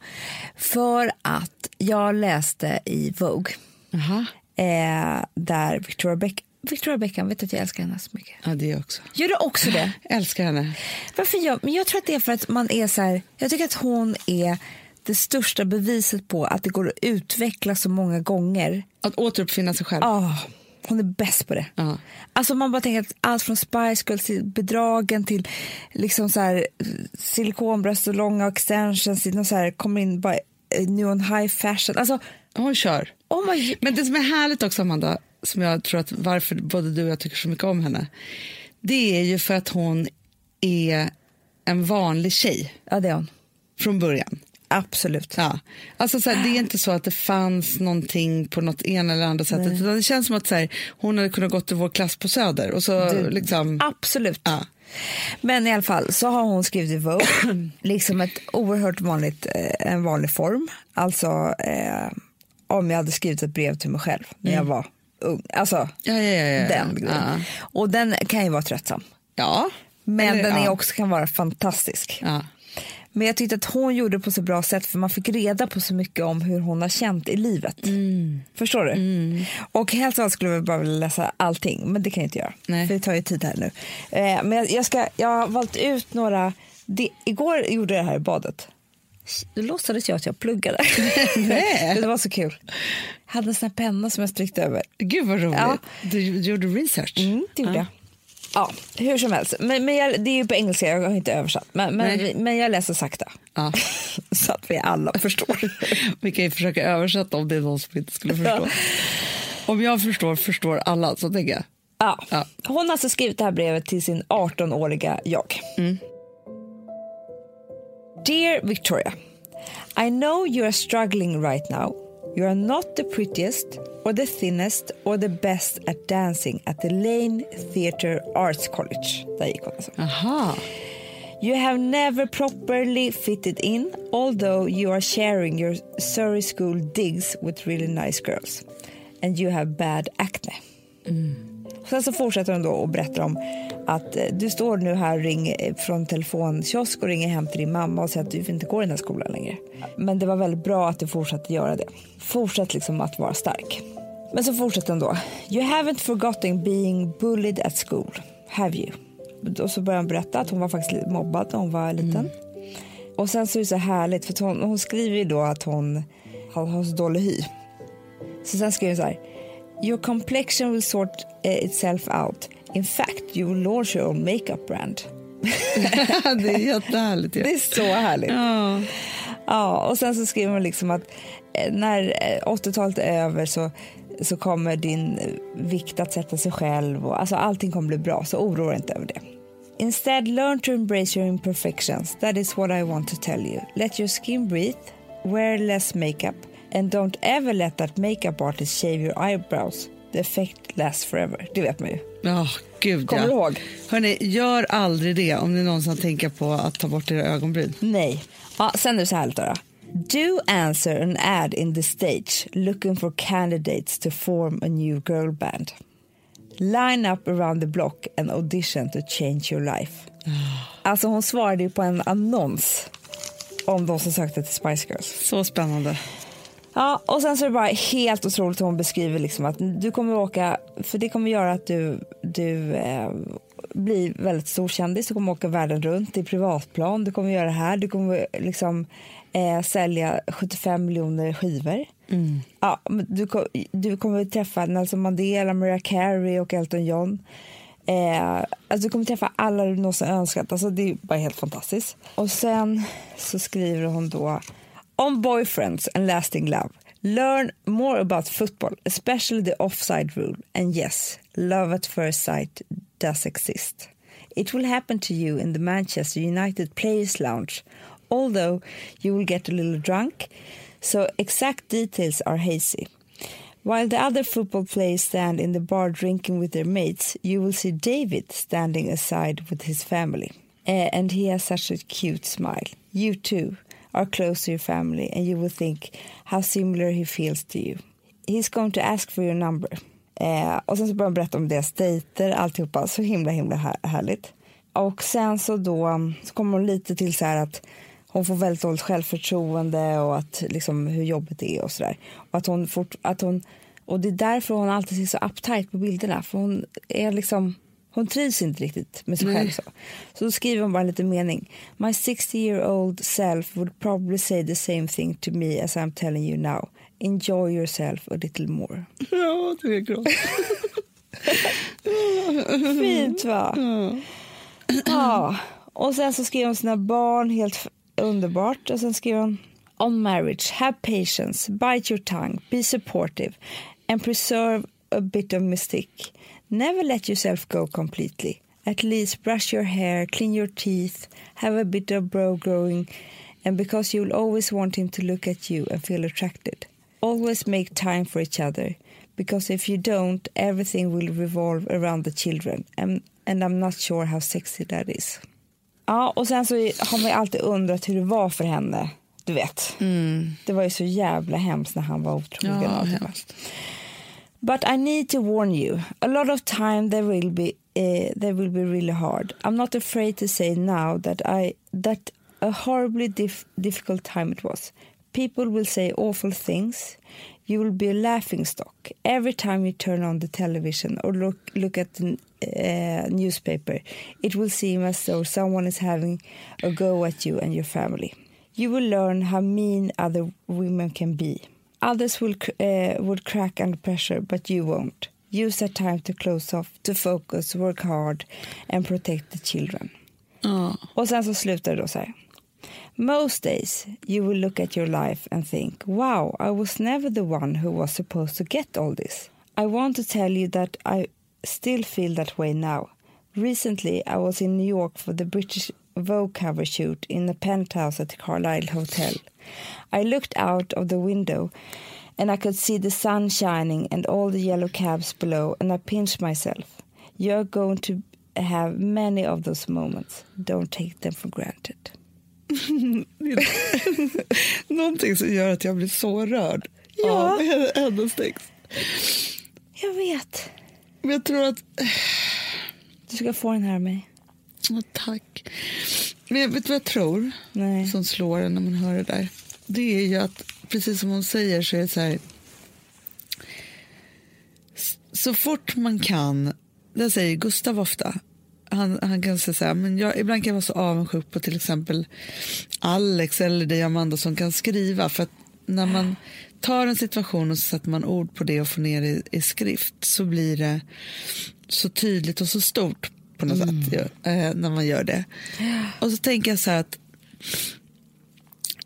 Speaker 2: för att jag läste i Vogue
Speaker 1: Aha.
Speaker 2: eh, där Victoria, Beck Victoria Beckham, vet du att jag älskar henne så mycket?
Speaker 1: Ja, det också.
Speaker 2: Gör du också det?
Speaker 1: Älskar henne.
Speaker 2: Varför jag? Men jag tror att det är för att man är så här, jag tycker att hon är det största beviset på att det går att utveckla så många gånger
Speaker 1: Att återuppfinna sig själv.
Speaker 2: Ja, hon är bäst på det.
Speaker 1: Ja.
Speaker 2: Alltså man bara tänker att allt från Spice Girls till bedragen till liksom så här silikonbröst och långa extensions till någon så här kommer in bara eh, nu on high fashion. Alltså,
Speaker 1: Hon kör.
Speaker 2: oh my,
Speaker 1: Men det som är härligt också, Amanda, som jag tror att varför både du och jag tycker så mycket om henne, det är ju för att hon är en vanlig tjej
Speaker 2: ja det är hon.
Speaker 1: från början.
Speaker 2: Absolut.
Speaker 1: Ja. Alltså så här, det är inte så att det fanns någonting på något ena eller andra sättet, utan det känns som att så här, hon hade kunnat gå till vår klass på Söder och så liksom...
Speaker 2: Absolut.
Speaker 1: Ja.
Speaker 2: Men i alla fall så har hon skrivit i Vogue,
Speaker 1: (clears throat)
Speaker 2: liksom ett oerhört vanligt, eh, en vanlig form. Alltså eh, om jag hade skrivit ett brev till mig själv när jag var ung. Alltså
Speaker 1: Ja, ja, ja, ja.
Speaker 2: den grejen.
Speaker 1: Mm. Eh, Ja.
Speaker 2: Och den kan ju vara tröttsam.
Speaker 1: ja.
Speaker 2: Men
Speaker 1: Eller,
Speaker 2: den är
Speaker 1: ja.
Speaker 2: också kan vara fantastisk.
Speaker 1: Ja.
Speaker 2: Men jag tyckte att hon gjorde det på så bra sätt för man fick reda på så mycket om hur hon har känt i livet. Förstår du? Och helst av allt skulle jag bara vilja läsa allting, men det kan jag inte göra.
Speaker 1: Nej.
Speaker 2: För det tar ju tid här nu. Eh, men jag, jag, ska, jag har valt ut några... Det, igår gjorde jag det här i badet. Då låtsades jag att jag (laughs) pluggade.
Speaker 1: Nej.
Speaker 2: det var så kul. Jag hade en sån här penna som jag strykte över.
Speaker 1: Gud vad roligt.
Speaker 2: Ja.
Speaker 1: Du gjorde research.
Speaker 2: Mm, det gjorde
Speaker 1: Ja.
Speaker 2: jag. Ja, hur som helst. Men, men jag, det är ju på engelska, jag har inte översatt. Men,
Speaker 1: Nej.
Speaker 2: men, men jag läser sakta.
Speaker 1: Ja.
Speaker 2: (laughs) Så att vi alla förstår.
Speaker 1: (laughs) Vi kan ju försöka översätta om det är någon som inte skulle förstå. Om jag förstår, förstår alla. Så tänker jag.
Speaker 2: Ja.
Speaker 1: Ja.
Speaker 2: Hon har alltså skrivit det här brevet till sin 18-åriga jag.
Speaker 1: Mm.
Speaker 2: Dear Victoria, I know you are struggling right now. You are not the prettiest or the thinnest or the best at dancing at the Lane Theatre Arts College. Där gick hon alltså.
Speaker 1: Aha.
Speaker 2: You have never properly fitted in, although you are sharing your Surrey school digs with really nice girls. And you have bad acne. Sen så fortsätter hon då och berättar om att eh, du står nu här och ringer eh, från telefonkiosk och ringer hem till din mamma och säger att du inte går i den här skolan längre. Men det var väldigt bra att du fortsatte göra det. Fortsätt liksom att vara stark. Men så fortsätter hon då. You haven't forgotten being bullied at school, have you? Och så börjar hon berätta att hon var faktiskt lite mobbad när hon var liten. Och sen så är det så härligt för att hon, hon skriver ju då att hon har, har så dålig hy. Så sen skriver hon så här. Your complexion will sort eh, itself out. In fact, you will launch your own makeup brand.
Speaker 1: (laughs) det är jättehärligt.
Speaker 2: Det
Speaker 1: ju.
Speaker 2: är så härligt.
Speaker 1: Ja.
Speaker 2: Ja, och sen så skriver hon liksom att eh, när eh, 80-talet är över så, så kommer din eh, vikt att sätta sig själv och alltså allting kommer bli bra, så oroa dig inte över det. Instead learn to embrace your imperfections. That is what I want to tell you. Let your skin breathe, wear less makeup and don't ever let that makeup artist shave your eyebrows. The effect lasts forever. Det vet man ju.
Speaker 1: Ja, gud
Speaker 2: Kommer
Speaker 1: ja.
Speaker 2: du ihåg?
Speaker 1: Hörrni, gör aldrig det om ni någonsin tänker på att ta bort era ögonbryn.
Speaker 2: Nej. Ja, sen är det så här då. då. Do answer an ad in the stage looking for candidates to form a new girl band. Line up around the block and audition to change your life. Alltså hon svarade ju på en annons om de som sökte till Spice Girls.
Speaker 1: Så spännande.
Speaker 2: Ja, och sen så är det bara helt otroligt hur hon beskriver liksom att du kommer åka, för det kommer göra att du, du eh, blir väldigt stor kändis, du kommer åka världen runt i privatplan, du kommer göra det här, du kommer liksom eh, sälja 75 miljoner skivor. Ja, men du, ko- du kommer träffa Nelson Mandela, Mariah Carey och Elton John. Eh, alltså du kommer träffa alla du någonsin önskat. Alltså det är bara helt fantastiskt. Och sen så skriver hon då On boyfriends and lasting love. Learn more about football, especially the offside rule. And yes, love at first sight does exist. It will happen to you in the Manchester United Players Lounge, although you will get a little drunk, so exact details are hazy. While the other football players stand in the bar drinking with their mates, you will see David standing aside with his family. Eh, and he has such a cute smile. You too are close to your family, and you will think how similar he feels to you. He's going to ask for your number. Eh, och sen så börjar han berätta om deras dejter, alltihopa. Så himla, himla här- härligt. Och sen så då så kommer hon lite till så här att hon får väldigt dåligt självförtroende och att liksom hur jobbigt det är och sådär. Och att hon, fort, att hon och det är därför hon alltid ser så uptight på bilderna för hon är liksom hon trivs inte riktigt med sig själv så. Så då skriver hon bara en liten mening. My 60 year old self would probably say the same thing to me as I'm telling you now. Enjoy yourself a little more.
Speaker 1: Ja, du är gråt.
Speaker 2: Fint va? Ja. Och sen så skrev hon sina barn, helt f- underbart. Och sen skrev hon On marriage, have patience, bite your tongue, be supportive and preserve a bit of mystique. Never let yourself go completely. At least brush your hair, clean your teeth, have a bit of brow growing and because you'll always want him to look at you and feel attracted. Always make time for each other, because if you don't, everything will revolve around the children. And, and I'm not sure how sexy that is. Ja, och sen så har man ju alltid undrat hur det var för henne. Du vet. Det var ju så jävla hemskt när han var otrogen.
Speaker 1: Ja,
Speaker 2: och allt det där. But I need to warn you. A lot of time there will eh, be uh, there will be really hard. I'm not afraid to say now that I that a horribly dif- difficult time it was. People will say awful things. You will be a laughing stock every time you turn on the television or look look at the uh, newspaper. It will seem as though someone is having a go at you and your family. You will learn how mean other women can be. Others will cr- uh, would crack under pressure, but you won't. Use that time to close off, to focus, work hard, and protect the children. Och sen så slutar det då så här. Most days you will look at your life and think, wow, I was never the one who was supposed to get all this. I want to tell you that I still feel that way now. Recently I was in New York for the British Vogue cover shoot in a penthouse at the Carlisle Hotel. I looked out of the window and I could see the sun shining and all the yellow cabs below and I pinched myself. You're going to have many of those moments. Don't take them for granted.
Speaker 1: (laughs) Någonting som gör att jag blir så rörd av hennes text.
Speaker 2: Jag vet.
Speaker 1: Men jag tror att...
Speaker 2: Du ska få den här av mig.
Speaker 1: Åh, tack. Men jag vet du vad jag tror
Speaker 2: Nej.
Speaker 1: som slår en när man hör det där? Det är ju att, precis som hon säger, så är det så här... S- Så fort man kan, det säger Gustav ofta, han, han kan säga så här, men jag, ibland kan jag vara så avundsjuk på till exempel Alex eller dig Amanda som kan skriva. För att när man tar en situation och så sätter man ord på det och får ner det i, i skrift så blir det så tydligt och så stort på något sätt ju, eh, när man gör det. Och så tänker jag så här att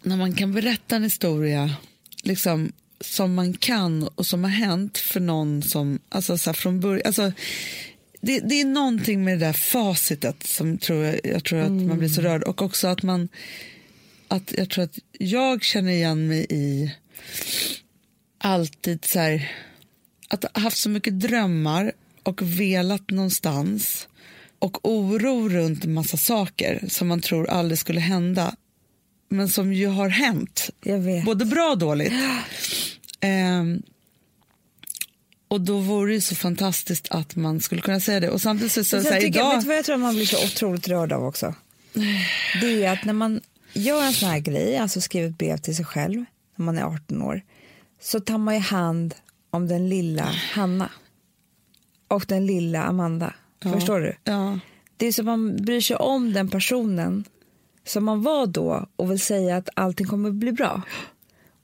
Speaker 1: när man kan berätta en historia liksom, som man kan och som har hänt för någon som, alltså så här, från början, alltså, det, det är någonting med det där facitet som tror jag, jag tror att man blir så rörd och också att man, att jag tror att jag känner igen mig i alltid så här, att ha haft så mycket drömmar och velat någonstans och oro runt en massa saker som man tror aldrig skulle hända men som ju har hänt,
Speaker 2: Jag vet.
Speaker 1: både bra och dåligt. Ehm, och då vore det ju så fantastiskt att man skulle kunna säga det. Och samtidigt så, så,
Speaker 2: Sen
Speaker 1: så här,
Speaker 2: tycker jag, vet
Speaker 1: idag...
Speaker 2: du vad jag tror man blir så otroligt rörd av också? Det är att när man gör en sån här grej, alltså skriver ett brev till sig själv när man är 18 år, så tar man ju hand om den lilla Hanna och den lilla Amanda. Förstår du?
Speaker 1: Ja.
Speaker 2: Det är som man bryr sig om den personen som man var då och vill säga att allting kommer bli bra.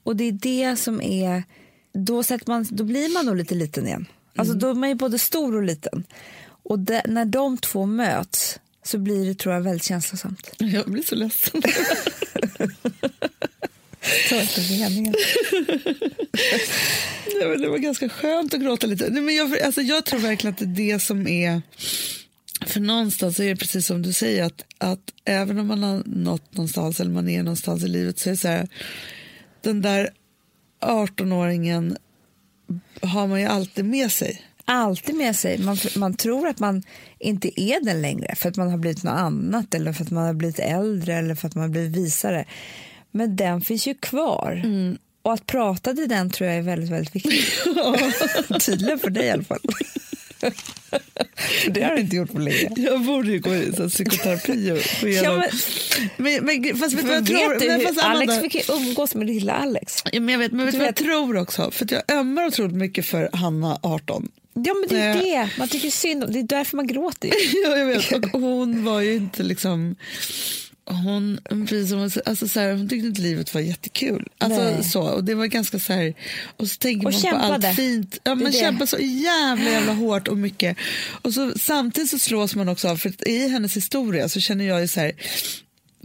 Speaker 2: Och det är det som är, då, sätter man, då blir man nog lite liten igen. Alltså då är man ju både stor och liten. Och det, när de två möts så blir det tror jag väldigt känslosamt.
Speaker 1: Jag blir så ledsen. (laughs)
Speaker 2: Så att det är meningen.
Speaker 1: Nej, men det var ganska skönt att gråta lite. Nej, men jag, alltså, jag tror verkligen att det är det som är... För någonstans är det precis som du säger, att, att även om man har nått någonstans eller man är någonstans i livet så är det så här, den där 18-åringen har man ju alltid med sig.
Speaker 2: Alltid med sig, man, man tror att man inte är den längre för att man har blivit något annat eller för att man har blivit äldre eller för att man har blivit visare. Men den finns ju kvar. Och att prata till den tror jag är väldigt, väldigt (laughs) viktigt. Tydligen för dig i alla fall. det har du inte gjort på länge.
Speaker 1: Jag borde ju gå i så här psykoterapi och gå igenom.
Speaker 2: Ja,
Speaker 1: men, men, fast vet du vad
Speaker 2: Men
Speaker 1: jag tror?
Speaker 2: vet du
Speaker 1: Men
Speaker 2: hur,
Speaker 1: fast
Speaker 2: Alex
Speaker 1: Amanda-
Speaker 2: fick ju umgås med lilla Alex.
Speaker 1: Ja, men jag vet, men vet du
Speaker 2: Du
Speaker 1: vad jag
Speaker 2: vet-
Speaker 1: tror också? För att jag ömmar otroligt mycket för Hanna, 18.
Speaker 2: Ja men det är
Speaker 1: Nej.
Speaker 2: det, man tycker synd om, det är därför man gråter. ju.
Speaker 1: (laughs) ja, jag vet. Och hon var ju inte liksom... Hon, precis som, hon sa- alltså så här, hon tyckte inte livet var jättekul. Alltså,
Speaker 2: Nej.
Speaker 1: så, och det var ganska så här, och så tänker
Speaker 2: Och
Speaker 1: man på
Speaker 2: kämpade.
Speaker 1: allt fint.
Speaker 2: är
Speaker 1: Ja, man
Speaker 2: det.
Speaker 1: kämpar så jävla
Speaker 2: (gasps)
Speaker 1: jävla hårt och mycket. Och så, samtidigt så slås man också av, för att i hennes historia så känner jag ju så här,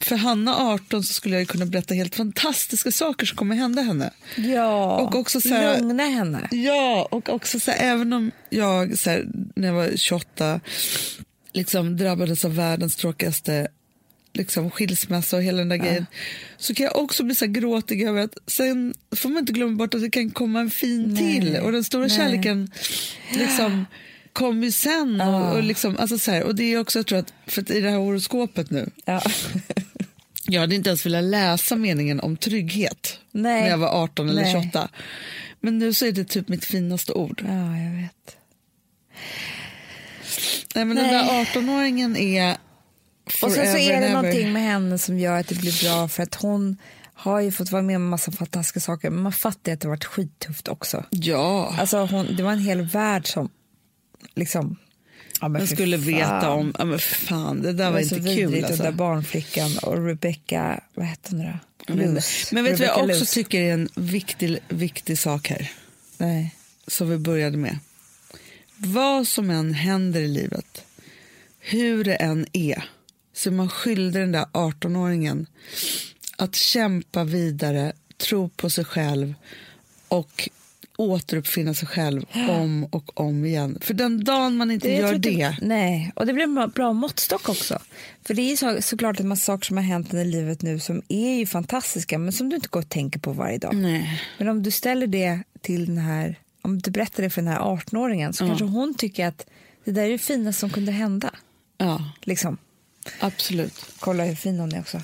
Speaker 1: för Hanna 18 så skulle jag ju kunna berätta helt fantastiska saker som kommer hända henne.
Speaker 2: Ja,
Speaker 1: Och också så här-
Speaker 2: lugna henne.
Speaker 1: Ja, och också så här, även om jag så här, när jag var 28 liksom drabbades av världens tråkigaste liksom, skilsmässa och hela den där grejen så kan jag också bli så här gråtig över att sen får man inte glömma bort att det kan komma en fin till och den stora kärleken liksom kommer ju sen och, och liksom alltså så här, och det är också jag tror att för att i det här horoskopet nu
Speaker 2: Ja. (laughs)
Speaker 1: jag hade inte ens velat läsa meningen om trygghet
Speaker 2: Nej.
Speaker 1: när jag var 18 eller
Speaker 2: Nej.
Speaker 1: 28. Men nu så är det typ mitt finaste ord.
Speaker 2: ja, jag vet.
Speaker 1: Nej, men
Speaker 2: Nej.
Speaker 1: Den där 18-åringen är
Speaker 2: Och sen så
Speaker 1: Forever
Speaker 2: är
Speaker 1: and
Speaker 2: det
Speaker 1: ever.
Speaker 2: någonting med henne som gör att det blir bra för att hon har ju fått vara med om massa fantastiska saker men man fattar ju att det har varit skittufft också.
Speaker 1: Ja,
Speaker 2: Alltså hon, det var en hel värld som liksom... Ja, men
Speaker 1: jag
Speaker 2: fy
Speaker 1: skulle veta
Speaker 2: fan.
Speaker 1: om... Ja, men fan, det där
Speaker 2: Det
Speaker 1: var,
Speaker 2: var så
Speaker 1: inte
Speaker 2: vidrigt
Speaker 1: kul.
Speaker 2: och
Speaker 1: Alltså.
Speaker 2: där barnflickan och Rebecca, vad hette hon då?
Speaker 1: Jag vet inte.
Speaker 2: Luz.
Speaker 1: Men vet du vad
Speaker 2: Rebecca
Speaker 1: jag också
Speaker 2: Luz.
Speaker 1: tycker är en viktig, viktig sak här?
Speaker 2: Nej.
Speaker 1: som vi började med. Vad som än händer i livet, hur det än är, så är man skyldig den där 18-åringen att kämpa vidare, tro på sig själv och återuppfinna sig själv om och om igen. För den dagen man inte
Speaker 2: jag
Speaker 1: gör
Speaker 2: tror att
Speaker 1: det...
Speaker 2: Nej, och det blir en bra- bra måttstock också. För det är ju så, såklart en massa saker som har hänt i livet nu som är ju fantastiska men som du inte går och tänker på varje dag.
Speaker 1: Nej.
Speaker 2: Men om du ställer det till den här, om du berättar det för den här 18-åringen så kanske hon tycker att det där är det finaste som kunde hända.
Speaker 1: Ja,
Speaker 2: Liksom,
Speaker 1: absolut.
Speaker 2: kolla hur fin hon är också.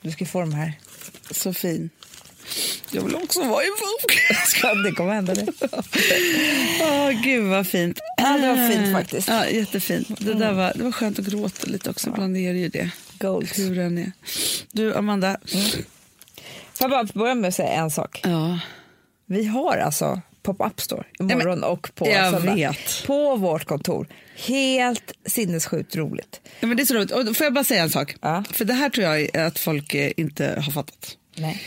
Speaker 2: Du ska få de här. (laughs)
Speaker 1: Så fin. Jag vill också vara i Vogue.
Speaker 2: Ska det kommer hända det.
Speaker 1: Åh, gud vad fint. Eh,
Speaker 2: Ja, det var fint faktiskt.
Speaker 1: Ja, jättefint. Det, där var, det var skönt att gråta lite också. Ibland är det ju det.
Speaker 2: Gold.
Speaker 1: Hur den är. Du, Amanda.
Speaker 2: Får jag bara börja med att säga en sak?
Speaker 1: Ja.
Speaker 2: Vi har alltså pop-up store imorgon
Speaker 1: Ja, men-
Speaker 2: och på
Speaker 1: jag
Speaker 2: söndag.
Speaker 1: vet.
Speaker 2: På vårt kontor. Helt sinnessjukt roligt.
Speaker 1: Ja, men det är så roligt. Och då får jag bara säga en sak?
Speaker 2: Ja.
Speaker 1: För det här tror jag är att folk eh, inte har fattat.
Speaker 2: Nej.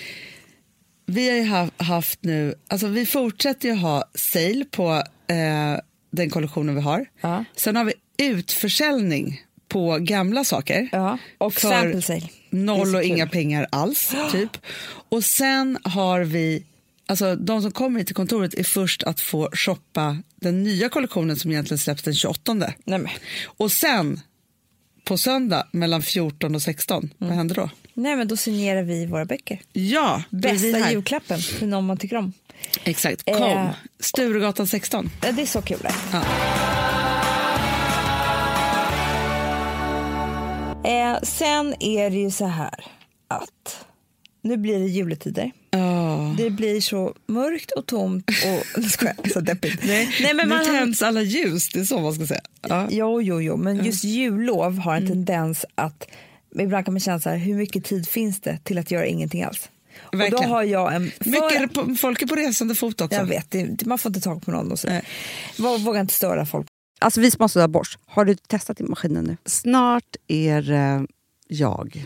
Speaker 1: Vi har ju ha- haft nu, alltså vi fortsätter ju ha sale på eh, den kollektionen vi har.
Speaker 2: Ja.
Speaker 1: Sen har vi utförsäljning på gamla saker.
Speaker 2: Ja, och
Speaker 1: För
Speaker 2: sample sale. Det är
Speaker 1: Noll
Speaker 2: så
Speaker 1: och
Speaker 2: kul.
Speaker 1: inga pengar
Speaker 2: (gasps)
Speaker 1: alls, typ. Och sen har vi, alltså de som kommer hit till kontoret är först att få shoppa den nya kollektionen som egentligen släpps den 28.
Speaker 2: Nej, men.
Speaker 1: Och sen på söndag mellan 14 och 16,
Speaker 2: Mm.
Speaker 1: vad händer då?
Speaker 2: Nej men då signerar vi våra böcker.
Speaker 1: Ja, då är vi
Speaker 2: Bästa
Speaker 1: här.
Speaker 2: julklappen till någon man tycker om.
Speaker 1: Exakt, kom.
Speaker 2: Eh.
Speaker 1: Sturegatan 16.
Speaker 2: Ja, Det är så kul. det.
Speaker 1: Ja.
Speaker 2: Eh, sen är det ju så här att nu blir det juletider.
Speaker 1: Ja.
Speaker 2: Det blir så mörkt och
Speaker 1: (laughs)
Speaker 2: tomt och... Nu ska jag, så deppigt.
Speaker 1: Nej,
Speaker 2: men
Speaker 1: nu
Speaker 2: man,
Speaker 1: tänds alla ljus, det är så man ska säga. Ja. Mm.
Speaker 2: Jo, jo, jo, men just jullov har en tendens att ibland kan man känna så här, hur mycket tid finns det till att göra ingenting alls? Och
Speaker 1: Verkligen.
Speaker 2: då har jag en... för-
Speaker 1: Mycket är det på, folk är på resande fot också.
Speaker 2: jag vet, det, man får inte tag på någon och så.
Speaker 1: Nej.
Speaker 2: Vå- Vågar inte störa folk.
Speaker 3: Alltså vi som har sådär borst, har du testat i maskinen nu?
Speaker 4: Snart är det jag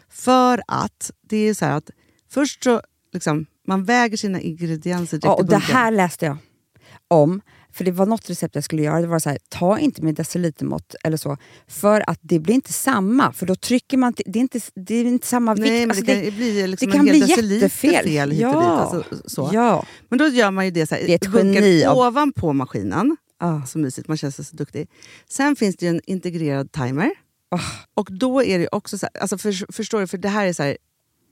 Speaker 4: För att det är så här att först så liksom, man väger sina ingredienser direkt
Speaker 3: Ja, och
Speaker 4: i
Speaker 3: det
Speaker 4: bunken.
Speaker 3: här läste jag om. För det var något recept jag skulle göra. Det var så här, ta inte med decilitermått eller så. För att det blir inte samma. För då trycker man... till- Det är inte, det är inte samma vikt.
Speaker 4: Nej, men
Speaker 3: Alltså,
Speaker 4: det kan ju bli liksom
Speaker 3: det kan
Speaker 4: en hel
Speaker 3: bli
Speaker 4: deciliter
Speaker 3: jättefel.
Speaker 4: fel hit och
Speaker 3: Ja.
Speaker 4: dit. Alltså, så.
Speaker 3: Ja.
Speaker 4: Men då gör man ju det så här,
Speaker 3: Det är ett
Speaker 4: dunkar
Speaker 3: geni av-
Speaker 4: ovanpå maskinen.
Speaker 3: Ah.
Speaker 4: Så mysigt, man känns så duktig. Sen finns det ju en integrerad timer.
Speaker 3: Ah.
Speaker 4: Och då är det ju också så här, alltså för, förstår du, för det här är så här,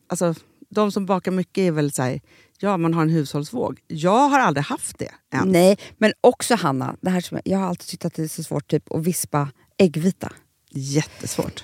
Speaker 4: alltså de som bakar mycket är väl så här, ja man har en hushållsvåg. Jag har aldrig haft det än.
Speaker 3: Nej, men också Hanna, det här som jag, jag har alltid tyckt att det är så svårt typ, att vispa äggvita.
Speaker 4: Jättesvårt.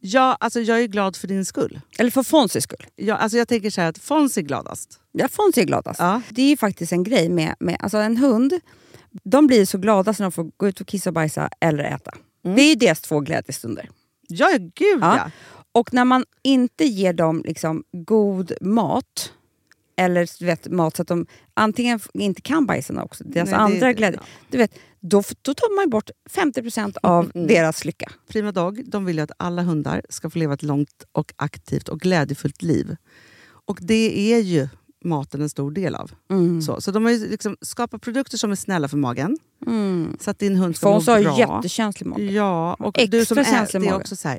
Speaker 4: Ja, alltså jag är glad för din skull.
Speaker 3: Eller för Fonzys skull.
Speaker 4: Jag, alltså jag tänker så här att Fons är gladast.
Speaker 3: Ja, Fonzie är gladast.
Speaker 4: Ja.
Speaker 3: Det är ju faktiskt en grej med, med alltså en hund. De blir så glada när de får gå ut och kissa och bajsa eller äta.
Speaker 4: Mm.
Speaker 3: Det är ju deras två glädjestunder.
Speaker 4: Ja, ja, gud
Speaker 3: Ja.
Speaker 4: ja.
Speaker 3: Och när man inte ger dem liksom god mat, eller du vet, mat så att de antingen f- inte kan bajsarna också, deras
Speaker 4: Nej, det-
Speaker 3: andra glädje,
Speaker 4: ja.
Speaker 3: du vet, då, f- då tar man ju bort 50% av deras lycka.
Speaker 4: Prima Dog Mm. de vill ju att alla hundar ska få leva ett långt och aktivt och glädjefullt liv. Och det är ju maten en stor del av.
Speaker 3: Mm.
Speaker 4: Så, så de har ju liksom skapat produkter som är snälla för magen.
Speaker 3: Mm.
Speaker 4: Så att din hund ska
Speaker 3: Fons
Speaker 4: må
Speaker 3: har
Speaker 4: bra.
Speaker 3: ju jättekänslig mage.
Speaker 4: Ja, och
Speaker 3: Extra
Speaker 4: du som är,
Speaker 3: känslig
Speaker 4: det är
Speaker 3: mage.
Speaker 4: också så här.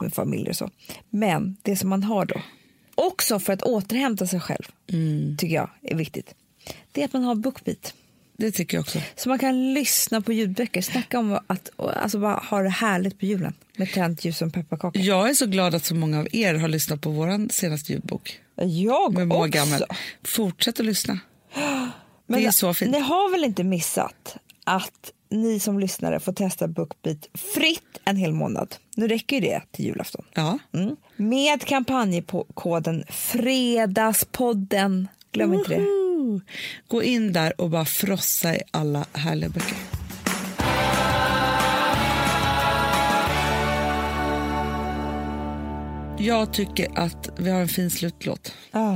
Speaker 2: med familjer och så. Men det som man har då, också för att återhämta sig själv,
Speaker 1: Mm.
Speaker 2: tycker jag är viktigt, det är att man har BookBeat.
Speaker 1: Det tycker jag också.
Speaker 2: Så man kan lyssna på ljudböcker, snacka om att och, alltså, bara ha det härligt på julen med tänt ljus och pepparkakor.
Speaker 1: Jag är så glad att så många av er har lyssnat på vår senaste ljudbok.
Speaker 2: Jag
Speaker 1: Med Moa
Speaker 2: också!
Speaker 1: Gammel. Fortsätt att lyssna.
Speaker 2: Men
Speaker 1: Det är så fint.
Speaker 2: Ni har väl inte missat att ni som lyssnare får testa BookBeat fritt en hel månad? Nu räcker ju det till julafton.
Speaker 1: Ja.
Speaker 2: Mm. Med kampanjkoden Fredagspodden. Glöm inte det.
Speaker 1: Woho! Gå in där och bara frossa i alla härliga böcker. Jag tycker att vi har en fin slutlåt.
Speaker 2: Ah,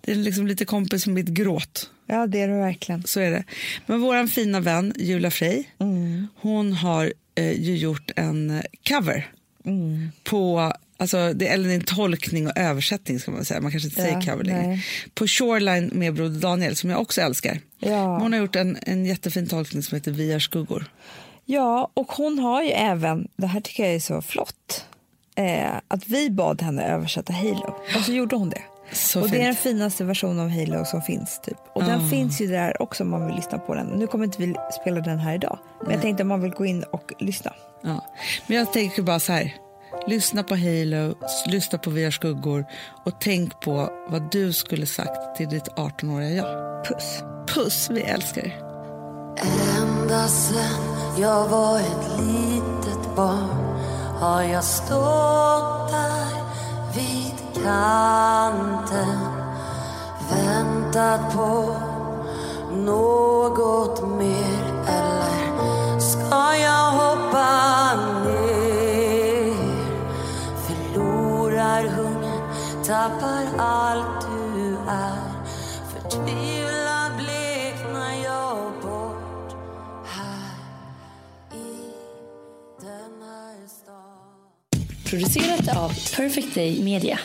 Speaker 1: Det är liksom lite kompis med mitt gråt.
Speaker 2: ja, det är det verkligen.
Speaker 1: Så är det. Men vår fina vän Julia Frey,
Speaker 2: Mm.
Speaker 1: hon har eh, ju gjort en eh, cover
Speaker 2: Mm.
Speaker 1: på, alltså det, eller en tolkning och översättning ska man säga, man kanske inte
Speaker 2: Ja,
Speaker 1: säger cover längre.
Speaker 2: nej.
Speaker 1: På Shoreline med Broder Daniel som jag också älskar.
Speaker 2: Ja.
Speaker 1: Men Hon har gjort en, en jättefin tolkning som heter Vi är skuggor.
Speaker 2: Ja, och hon har ju även, det här tycker jag är så flott, eh, att vi bad henne översätta Halo. Och så gjorde hon det.
Speaker 1: Så
Speaker 2: och det är den
Speaker 1: fint. Ah.
Speaker 2: finaste versionen av Halo som finns. typ. Och den finns ju där också om man vill lyssna på den. Nu kommer inte vi spela den här idag, men jag tänkte om man vill gå in och lyssna.
Speaker 1: Ja. Men jag tänker bara så här, lyssna på Halo, s- lyssna på Vi är skuggor och tänk på vad du skulle sagt till ditt 18-åriga jag.
Speaker 2: Puss!
Speaker 1: Puss, vi älskar er.
Speaker 6: Am ända sen jag var ett litet barn har jag stått där vid kanten väntat på något mer eller ska jag hoppa ner? Förlorar hungern, tappar allt du är Förtvivlad bleknar jag bort här i den här stan
Speaker 7: Producerat av Perfect Day Media.